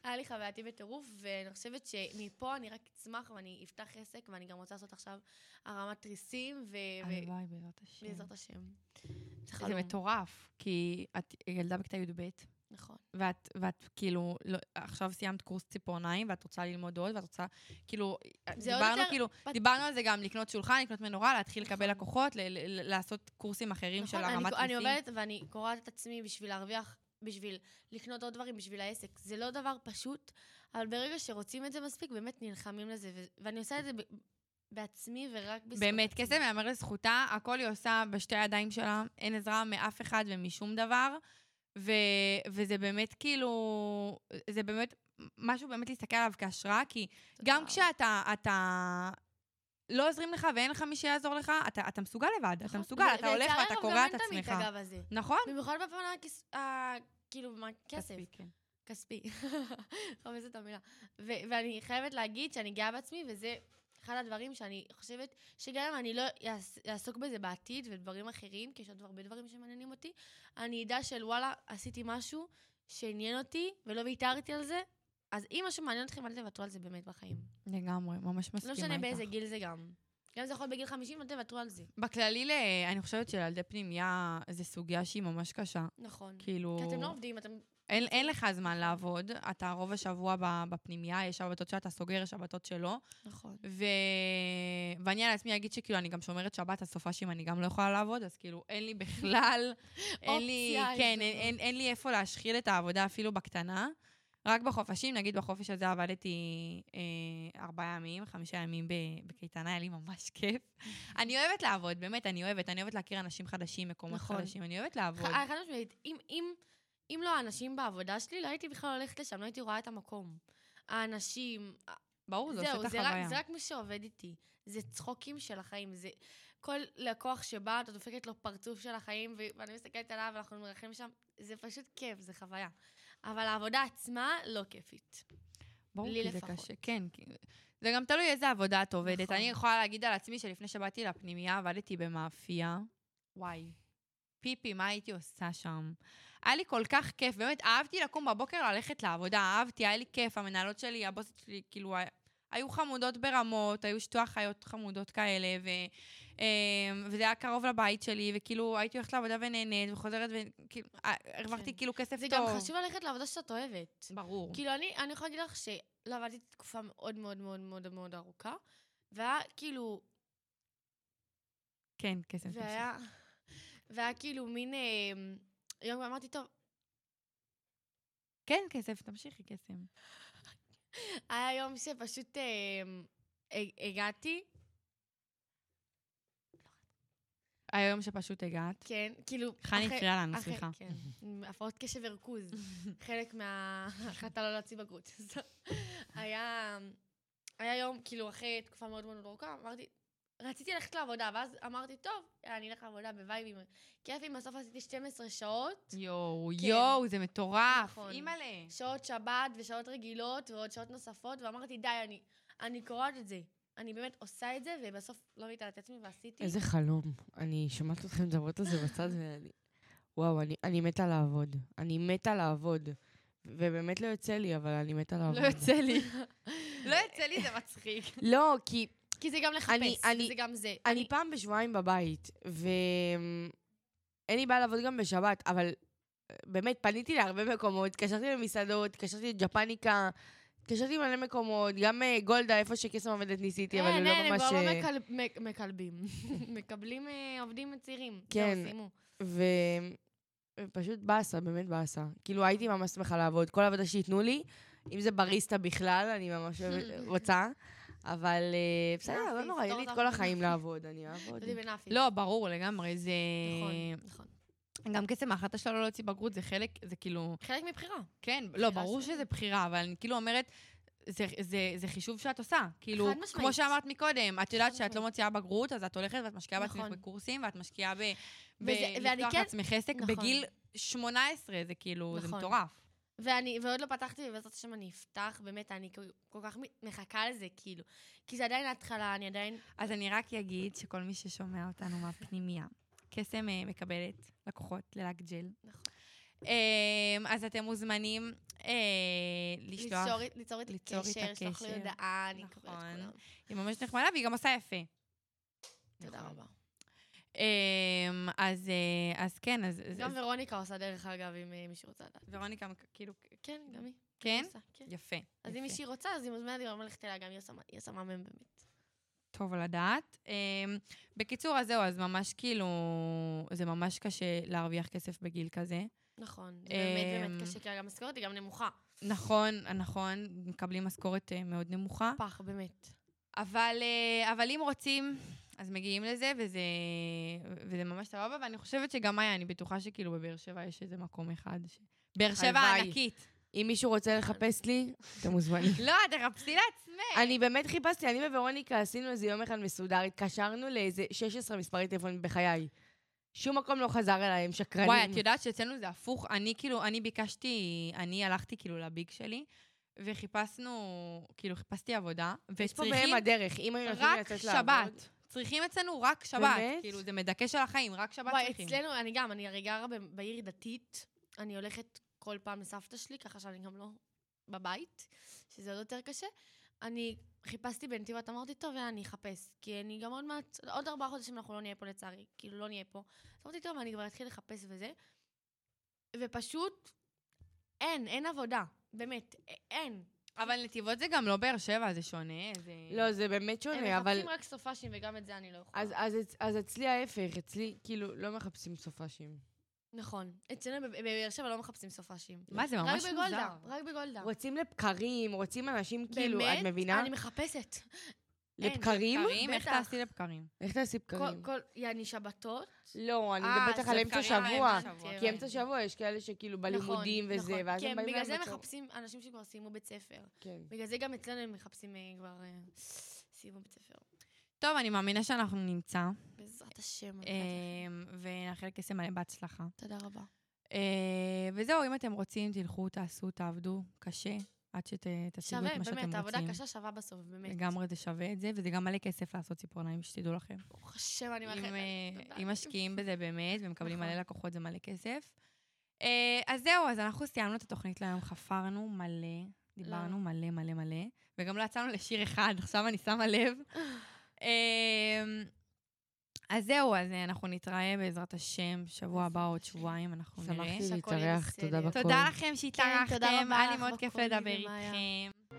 [SPEAKER 4] היה לי חווייתי בטירוף, ואני חושבת שמפה אני רק אצמח ואני אפתח עסק, ואני גם רוצה לעשות עכשיו הרמת תריסים, ו... ו-
[SPEAKER 2] הלוואי, בעזרת השם.
[SPEAKER 4] בעזרת השם. זה
[SPEAKER 2] זה
[SPEAKER 4] חלום.
[SPEAKER 2] מטורף, כי את ילדה בכיתה י"ב,
[SPEAKER 4] נכון.
[SPEAKER 2] ואת, ואת כאילו, לא, עכשיו סיימת קורס ציפורניים, ואת רוצה ללמוד עוד, ואת רוצה, כאילו,
[SPEAKER 4] זה עוד
[SPEAKER 2] דיברנו
[SPEAKER 4] יותר-
[SPEAKER 2] כאילו,
[SPEAKER 4] בת-
[SPEAKER 2] דיברנו על זה גם, לקנות שולחן, לקנות מנורה, להתחיל לקבל
[SPEAKER 4] נכון.
[SPEAKER 2] לקוחות, ל- ל- ל- לעשות קורסים אחרים של
[SPEAKER 4] נכון, אני-
[SPEAKER 2] הרמת
[SPEAKER 4] אני
[SPEAKER 2] מיסים.
[SPEAKER 4] עובדת ואני קורעת את עצמי בשביל להרוויח, בשביל לקנות עוד דברים, בשביל העסק. זה לא דבר פשוט, אבל ברגע שרוצים את זה מספיק, באמת נלחמים לזה, ו- ואני עושה את זה ב- בעצמי ורק בזכות
[SPEAKER 2] באמת,
[SPEAKER 4] עצמי.
[SPEAKER 2] קסם יאמר לזכותה, הכל היא עושה בשתי הידיים שלה, אין עזרה מאף אחד ומשום דבר, ו, וזה באמת כאילו, זה באמת משהו באמת להסתכל עליו כהשראה, כי
[SPEAKER 4] תודה
[SPEAKER 2] גם
[SPEAKER 4] רבה.
[SPEAKER 2] כשאתה, אתה... לא עוזרים לך ואין לך מי שיעזור לך, אתה, אתה מסוגל לבד, אתה
[SPEAKER 4] נכון.
[SPEAKER 2] מסוגל,
[SPEAKER 4] ו-
[SPEAKER 2] אתה הולך
[SPEAKER 4] ולצערי
[SPEAKER 2] ואתה
[SPEAKER 4] הרב,
[SPEAKER 2] קורע
[SPEAKER 4] גם
[SPEAKER 2] את
[SPEAKER 4] אין תמיד
[SPEAKER 2] עצמך.
[SPEAKER 4] הגב הזה.
[SPEAKER 2] נכון?
[SPEAKER 4] במיוחד בפן הכיס... ה- כאילו, מה, כסף.
[SPEAKER 2] כספי, כן.
[SPEAKER 4] כספי. חומס את המילה. ו- ואני חייבת להגיד שאני גאה בעצמי, וזה אחד הדברים שאני חושבת שגם אם אני לא יעס- אעסוק בזה בעתיד ודברים אחרים, כי יש עוד הרבה דברים שמעניינים אותי, אני אדע של וואלה, עשיתי משהו שעניין אותי ולא ויתרתי על זה, אז אם משהו מעניין אתכם, אל תוותרו על זה באמת בחיים.
[SPEAKER 2] לגמרי, ממש מסכימה
[SPEAKER 4] לא
[SPEAKER 2] איתך.
[SPEAKER 4] משנה באיזה גיל זה גם. גם אם זה יכול להיות בגיל 50, אל תוותרו על זה.
[SPEAKER 2] בכללי, ל- אני חושבת שלילדי פנימייה זו סוגיה שהיא ממש קשה.
[SPEAKER 4] נכון.
[SPEAKER 2] כאילו...
[SPEAKER 4] כי אתם לא עובדים, אתם...
[SPEAKER 2] אין, אין לך זמן לעבוד, אתה רוב השבוע ב- בפנימייה, יש שבתות שאתה סוגר, יש שבתות שלא.
[SPEAKER 4] נכון.
[SPEAKER 2] ו... ואני על עצמי אגיד שכאילו, אני גם שומרת שבת, אז סופ"שים אני גם לא יכולה לעבוד, אז כאילו, אין לי בכלל, אין לי,
[SPEAKER 4] אופציה
[SPEAKER 2] כן, אין,
[SPEAKER 4] איזו.
[SPEAKER 2] אין, אין לי איפה להשחיל את העבודה אפילו בקטנה. רק בחופשים, נגיד בחופש הזה עבדתי אה, ארבעה ימים, חמישה ימים ב- בקייטנה, היה לי ממש כיף. אני אוהבת לעבוד, באמת, אני אוהבת. אני אוהבת להכיר אנשים חדשים, מקומות
[SPEAKER 4] נכון.
[SPEAKER 2] חדשים, אני אוהבת לעבוד.
[SPEAKER 4] ח- אה, חד משמעית, אם, אם, אם לא האנשים בעבודה שלי, לא הייתי בכלל הולכת לשם, לא הייתי רואה את המקום. האנשים, אה,
[SPEAKER 2] ברור, זה עושה
[SPEAKER 4] זהו,
[SPEAKER 2] את
[SPEAKER 4] זה רק,
[SPEAKER 2] החוויה.
[SPEAKER 4] זה רק מי שעובד איתי. זה צחוקים של החיים, זה כל לקוח שבא, אתה דופקת לו פרצוף של החיים, ו- ואני מסתכלת עליו, ואנחנו מרחמים שם, זה פשוט כיף, זה חוויה. אבל העבודה עצמה לא כיפית.
[SPEAKER 2] ברור,
[SPEAKER 4] לי
[SPEAKER 2] כי זה
[SPEAKER 4] לפחות.
[SPEAKER 2] קשה, כן. כי- זה גם תלוי איזה עבודה את עובדת.
[SPEAKER 4] נכון.
[SPEAKER 2] אני יכולה להגיד על עצמי שלפני שבאתי לפנימייה עבדתי במאפייה. וואי. פיפי, מה הייתי עושה שם? היה לי כל כך כיף, באמת, אהבתי לקום בבוקר ללכת לעבודה, אהבתי, היה לי כיף, המנהלות שלי, הבוסת שלי, כאילו, ה- היו חמודות ברמות, היו שתי אחיות חמודות כאלה, ו, אמ, וזה היה קרוב לבית שלי, וכאילו, הייתי הולכת לעבודה ונהנית, וחוזרת, וכאילו, אה, הרווחתי
[SPEAKER 4] כן.
[SPEAKER 2] כאילו כסף
[SPEAKER 4] זה
[SPEAKER 2] טוב.
[SPEAKER 4] גם חשוב ללכת לעבודה שאת אוהבת.
[SPEAKER 2] ברור.
[SPEAKER 4] כאילו, אני, אני יכולה להגיד לך שלא עבדתי תקופה מאוד מאוד מאוד מאוד מאוד ארוכה, והיה כאילו,
[SPEAKER 2] כן, כסף. תמשיכי.
[SPEAKER 4] והיה, והיה כאילו מין... אה, יום אמרתי, טוב,
[SPEAKER 2] כן, כסף, תמשיכי, קסם.
[SPEAKER 4] היה יום שפשוט אה, הג- הגעתי,
[SPEAKER 2] היום שפשוט הגעת.
[SPEAKER 4] כן, כאילו...
[SPEAKER 2] חני
[SPEAKER 4] אחרי-
[SPEAKER 2] הפריעה לנו,
[SPEAKER 4] אחרי-
[SPEAKER 2] סליחה.
[SPEAKER 4] כן, עם הפרעות קשב וריכוז. חלק מההחלטה לא להוציא בגרות. אז היה היה יום, כאילו, אחרי תקופה מאוד מאוד ארוכה, אמרתי, רציתי ללכת לעבודה, ואז אמרתי, טוב, יאללה, אני אלך לעבודה בווייבים. כיפים, בסוף עשיתי 12 שעות.
[SPEAKER 2] יואו,
[SPEAKER 4] כן.
[SPEAKER 2] יואו, זה מטורף.
[SPEAKER 4] נכון.
[SPEAKER 2] אימא'לה.
[SPEAKER 4] שעות שבת ושעות רגילות ועוד שעות נוספות, ואמרתי, די, אני, אני קורעת את זה. אני באמת עושה את זה, ובסוף לא ויתרתי את עצמי ועשיתי.
[SPEAKER 3] איזה חלום. אני שומעת אתכם מדברות על זה בצד ואני... וואו, אני, אני מתה לעבוד. אני מתה לעבוד. ובאמת לא יוצא לי, אבל אני מתה לעבוד.
[SPEAKER 2] לא יוצא לי. לא יוצא לי, זה מצחיק.
[SPEAKER 3] לא, כי
[SPEAKER 4] כי זה גם לחפש,
[SPEAKER 3] אני- אני-
[SPEAKER 4] וזה גם זה.
[SPEAKER 3] אני פעם בשבועיים בבית, ו... אין לי בעיה לעבוד גם בשבת, אבל אה, באמת, פניתי להרבה מקומות, התקשרתי למסעדות, התקשרתי לג'פניקה, התקשרתי למלא מקומות, גם אה, גולדה, איפה שקסם עובדת ניסיתי, אבל
[SPEAKER 4] אין,
[SPEAKER 3] הוא לא
[SPEAKER 4] אין, הם
[SPEAKER 3] ממש...
[SPEAKER 4] כבר לא
[SPEAKER 3] אה,
[SPEAKER 4] מקל- מק- מקלבים. מקבלים אה, עובדים צעירים.
[SPEAKER 3] כן.
[SPEAKER 4] זהו, סיימו.
[SPEAKER 3] ו- ופשוט באסה, באמת באסה. כאילו, הייתי ממש שמחה לעבוד. כל עבודה שייתנו לי, אם זה בריסטה בכלל, אני ממש אוהבת- רוצה. אבל אה, בסדר,
[SPEAKER 4] יופי,
[SPEAKER 3] לא נורא, יהיה
[SPEAKER 4] יפתור
[SPEAKER 3] לי את
[SPEAKER 4] את
[SPEAKER 3] כל
[SPEAKER 4] העבודה.
[SPEAKER 3] החיים לעבוד, אני אעבוד.
[SPEAKER 4] דודי בנאפי.
[SPEAKER 2] לא, ברור לגמרי, זה...
[SPEAKER 3] אה,
[SPEAKER 4] נכון, נכון.
[SPEAKER 2] גם קסם ההחלטה שלו לא להוציא בגרות, זה חלק, זה כאילו...
[SPEAKER 4] חלק מבחירה.
[SPEAKER 2] כן, לא,
[SPEAKER 4] בחירה
[SPEAKER 2] ברור
[SPEAKER 4] שלו.
[SPEAKER 2] שזה בחירה, אבל אני כאילו אומרת, זה, זה, זה חישוב שאת עושה. כאילו,
[SPEAKER 4] משמעית.
[SPEAKER 2] כמו שאמרת מקודם, את יודעת שאת
[SPEAKER 4] משמעית.
[SPEAKER 2] לא מוציאה בגרות, אז את הולכת ואת משקיעה בעצמך
[SPEAKER 4] נכון.
[SPEAKER 2] בקורסים, ואת משקיעה ב... ב-
[SPEAKER 4] וזה- ואני
[SPEAKER 2] לפתוח
[SPEAKER 4] כן-
[SPEAKER 2] לעצמך עסק
[SPEAKER 4] נכון.
[SPEAKER 2] בגיל 18, זה כאילו, זה
[SPEAKER 4] נכון.
[SPEAKER 2] מטורף.
[SPEAKER 4] ואני, ועוד לא פתחתי, ובעזרת השם אני אפתח, באמת, אני כל- כל כך מ- מחכה לזה, כאילו. כי זה עדיין ההתחלה, אני עדיין...
[SPEAKER 2] אז אני רק אגיד שכל מי ששומע אותנו מהפנימייה, קסם אה, מקבלת לקוחות ללק ג'ל.
[SPEAKER 4] נכון.
[SPEAKER 2] אמ, אז אתם מוזמנים אה, לשלוח.
[SPEAKER 4] ליצור- ליצור איתי
[SPEAKER 2] ליצור איתה
[SPEAKER 4] קשר, לשלוח לי
[SPEAKER 2] קשר.
[SPEAKER 4] הודעה, אני אקבל את
[SPEAKER 2] נכון.
[SPEAKER 4] כולם.
[SPEAKER 2] היא ממש נחמדה והיא גם עושה יפה.
[SPEAKER 4] תודה
[SPEAKER 2] נכון.
[SPEAKER 4] רבה.
[SPEAKER 2] אמ, אז, אה, אז כן, אז... אז-
[SPEAKER 4] גם
[SPEAKER 2] אז
[SPEAKER 4] ורוניקה עושה דרך אגב, אם אה, מישהו רוצה לדעת.
[SPEAKER 2] ורוניקה, מק- כאילו,
[SPEAKER 4] כן, גם היא.
[SPEAKER 2] כן?
[SPEAKER 4] עושה, כן.
[SPEAKER 2] יפה.
[SPEAKER 4] אז
[SPEAKER 2] יפה.
[SPEAKER 4] אם מישהי רוצה, אז היא מוזמנת גם ללכת אליה, גם היא עושה- היא עושה מהמם באמת.
[SPEAKER 2] טוב לדעת. אמ, בקיצור, אז זהו, אז ממש כאילו, זה ממש קשה להרוויח כסף בגיל כזה.
[SPEAKER 4] נכון, זה באמת
[SPEAKER 2] אמ,
[SPEAKER 4] באמת קשה, כי המשכורת היא גם נמוכה.
[SPEAKER 2] נכון, נכון, מקבלים משכורת אה, מאוד נמוכה.
[SPEAKER 4] פח, באמת.
[SPEAKER 2] אבל, אה, אבל אם רוצים, אז מגיעים לזה, וזה, וזה ממש סבבה, ואני חושבת שגם היה, אני בטוחה שכאילו בבאר שבע יש איזה מקום אחד. ש... באר שבע
[SPEAKER 3] הלוואי.
[SPEAKER 2] הענקית.
[SPEAKER 3] אם מישהו רוצה
[SPEAKER 2] נכון.
[SPEAKER 3] לחפש לי, אתם מוזמנים.
[SPEAKER 2] לא, תחפשי לעצמך.
[SPEAKER 3] אני באמת חיפשתי, אני וורוניקה עשינו איזה יום אחד מסודר, התקשרנו לאיזה 16 מספרי טלפון בחיי. שום מקום לא חזר אליי, הם שקרנים.
[SPEAKER 2] וואי, את יודעת שאצלנו זה הפוך. אני כאילו, אני ביקשתי, אני הלכתי כאילו לביג שלי, וחיפשנו, כאילו חיפשתי עבודה,
[SPEAKER 3] יש פה מהם
[SPEAKER 2] וצריכים
[SPEAKER 3] הדרך, אם היו נותנים לי
[SPEAKER 2] רק
[SPEAKER 3] לצאת לעבוד.
[SPEAKER 2] שבת. צריכים אצלנו רק שבת.
[SPEAKER 3] באמת?
[SPEAKER 2] כאילו, זה מדכא של החיים, רק שבת
[SPEAKER 4] וואי,
[SPEAKER 2] צריכים.
[SPEAKER 4] אצלנו, אני גם, אני הרי גרה ב- בעיר דתית, אני הולכת כל פעם לסבתא שלי, ככה שאני גם לא בבית, שזה עוד יותר קשה. אני חיפשתי בנתיבות, אמרתי, טוב, יאללה, אני אחפש, כי אני גם עוד מעט, עוד ארבעה חודשים אנחנו לא נהיה פה לצערי, כאילו לא נהיה פה. אז אמרתי, טוב, אני כבר אתחיל לחפש וזה, ופשוט אין, אין עבודה, באמת, א- אין.
[SPEAKER 2] אבל נתיבות זה גם לא באר שבע, זה שונה. זה...
[SPEAKER 3] לא, זה באמת שונה,
[SPEAKER 4] הם
[SPEAKER 3] אבל...
[SPEAKER 4] מחפשים רק סופאשים, וגם את זה אני לא יכולה.
[SPEAKER 3] אז, אז, אצ- אז אצלי ההפך, אצלי כאילו לא מחפשים סופאשים.
[SPEAKER 4] נכון. אצלנו בב- בבאר שבע לא מחפשים סופאשים.
[SPEAKER 2] מה, זה
[SPEAKER 4] רק
[SPEAKER 2] ממש מוזר.
[SPEAKER 4] בגולדה, רק בגולדה.
[SPEAKER 3] רוצים לבקרים, רוצים אנשים כאילו,
[SPEAKER 4] באמת?
[SPEAKER 3] את מבינה?
[SPEAKER 4] אני מחפשת. אין,
[SPEAKER 3] לבקרים?
[SPEAKER 2] בקרים? איך
[SPEAKER 4] בטח.
[SPEAKER 2] תעשי לבקרים?
[SPEAKER 3] איך תעשי
[SPEAKER 4] כל,
[SPEAKER 3] בקרים?
[SPEAKER 4] כל, יעני שבתות.
[SPEAKER 3] לא, אני
[SPEAKER 2] אה,
[SPEAKER 3] מדברת לך
[SPEAKER 2] זה
[SPEAKER 3] על אמצע
[SPEAKER 2] בקרים,
[SPEAKER 3] שבוע.
[SPEAKER 2] אמצע שבוע,
[SPEAKER 3] כי
[SPEAKER 2] כן.
[SPEAKER 3] אמצע שבוע יש כאלה שכאילו בלימודים
[SPEAKER 4] נכון,
[SPEAKER 3] וזה,
[SPEAKER 4] נכון.
[SPEAKER 3] ואז הם
[SPEAKER 4] כן,
[SPEAKER 3] באים
[SPEAKER 4] בגלל זה
[SPEAKER 3] להם בצהר-
[SPEAKER 4] מחפשים אנשים שכבר סיימו בית ספר.
[SPEAKER 3] כן.
[SPEAKER 4] בגלל זה גם אצלנו הם מחפשים אה, כבר... אה, סיימו בית ספר.
[SPEAKER 2] טוב, אני מאמינה שאנחנו נמצא,
[SPEAKER 4] בעזרת השם. אני יודעת
[SPEAKER 3] אה,
[SPEAKER 2] אמ, ונאחל קסם מלא בהצלחה.
[SPEAKER 4] לך. תודה רבה.
[SPEAKER 2] אה, וזהו, אם אתם רוצים, תלכו, תעשו, תעבדו, קשה, עד שתשיגו
[SPEAKER 4] שווה,
[SPEAKER 2] את מה שאתם
[SPEAKER 4] באמת, העבודה
[SPEAKER 2] רוצים.
[SPEAKER 4] קשה שווה בסוף, באמת.
[SPEAKER 2] לגמרי זה שווה את זה, וזה גם מלא כסף לעשות ציפורניים, שתדעו לכם.
[SPEAKER 4] ברוך השם, אני מאחלת.
[SPEAKER 2] אם, אה,
[SPEAKER 4] תודה.
[SPEAKER 2] אם משקיעים בזה באמת, ומקבלים
[SPEAKER 4] נכון.
[SPEAKER 2] מלא לקוחות, זה מלא כסף. אה, אז זהו, אז אנחנו סיימנו את התוכנית להיום, חפרנו מלא, דיברנו מלא מלא מלא, וגם לא יצאנו לשיר אחד, עכשיו אני שמה לב. אה, אז זהו, אז אה, אנחנו נתראה בעזרת השם, שבוע הבא,
[SPEAKER 4] בעזרת
[SPEAKER 2] עוד
[SPEAKER 4] השם.
[SPEAKER 2] שבועיים, אנחנו נראה.
[SPEAKER 3] שמחתי
[SPEAKER 4] שהכל יהיה
[SPEAKER 3] להתארח, תודה
[SPEAKER 4] בסדר.
[SPEAKER 3] בכל.
[SPEAKER 2] תודה לכם שהתארחתם,
[SPEAKER 4] כן, תודה רבה
[SPEAKER 2] היה לי
[SPEAKER 4] לך,
[SPEAKER 2] מאוד כיף
[SPEAKER 4] בקולי
[SPEAKER 2] לדבר
[SPEAKER 4] ומאיה.
[SPEAKER 2] איתכם.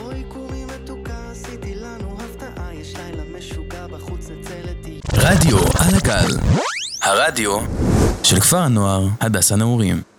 [SPEAKER 5] בואי קורי מתוקה, עשיתי לנו הפתעה, יש לילה משוגע בחוץ, נצא לטיול.
[SPEAKER 1] רדיו על הגל, הרדיו של כפר הנוער הדס הנעורים.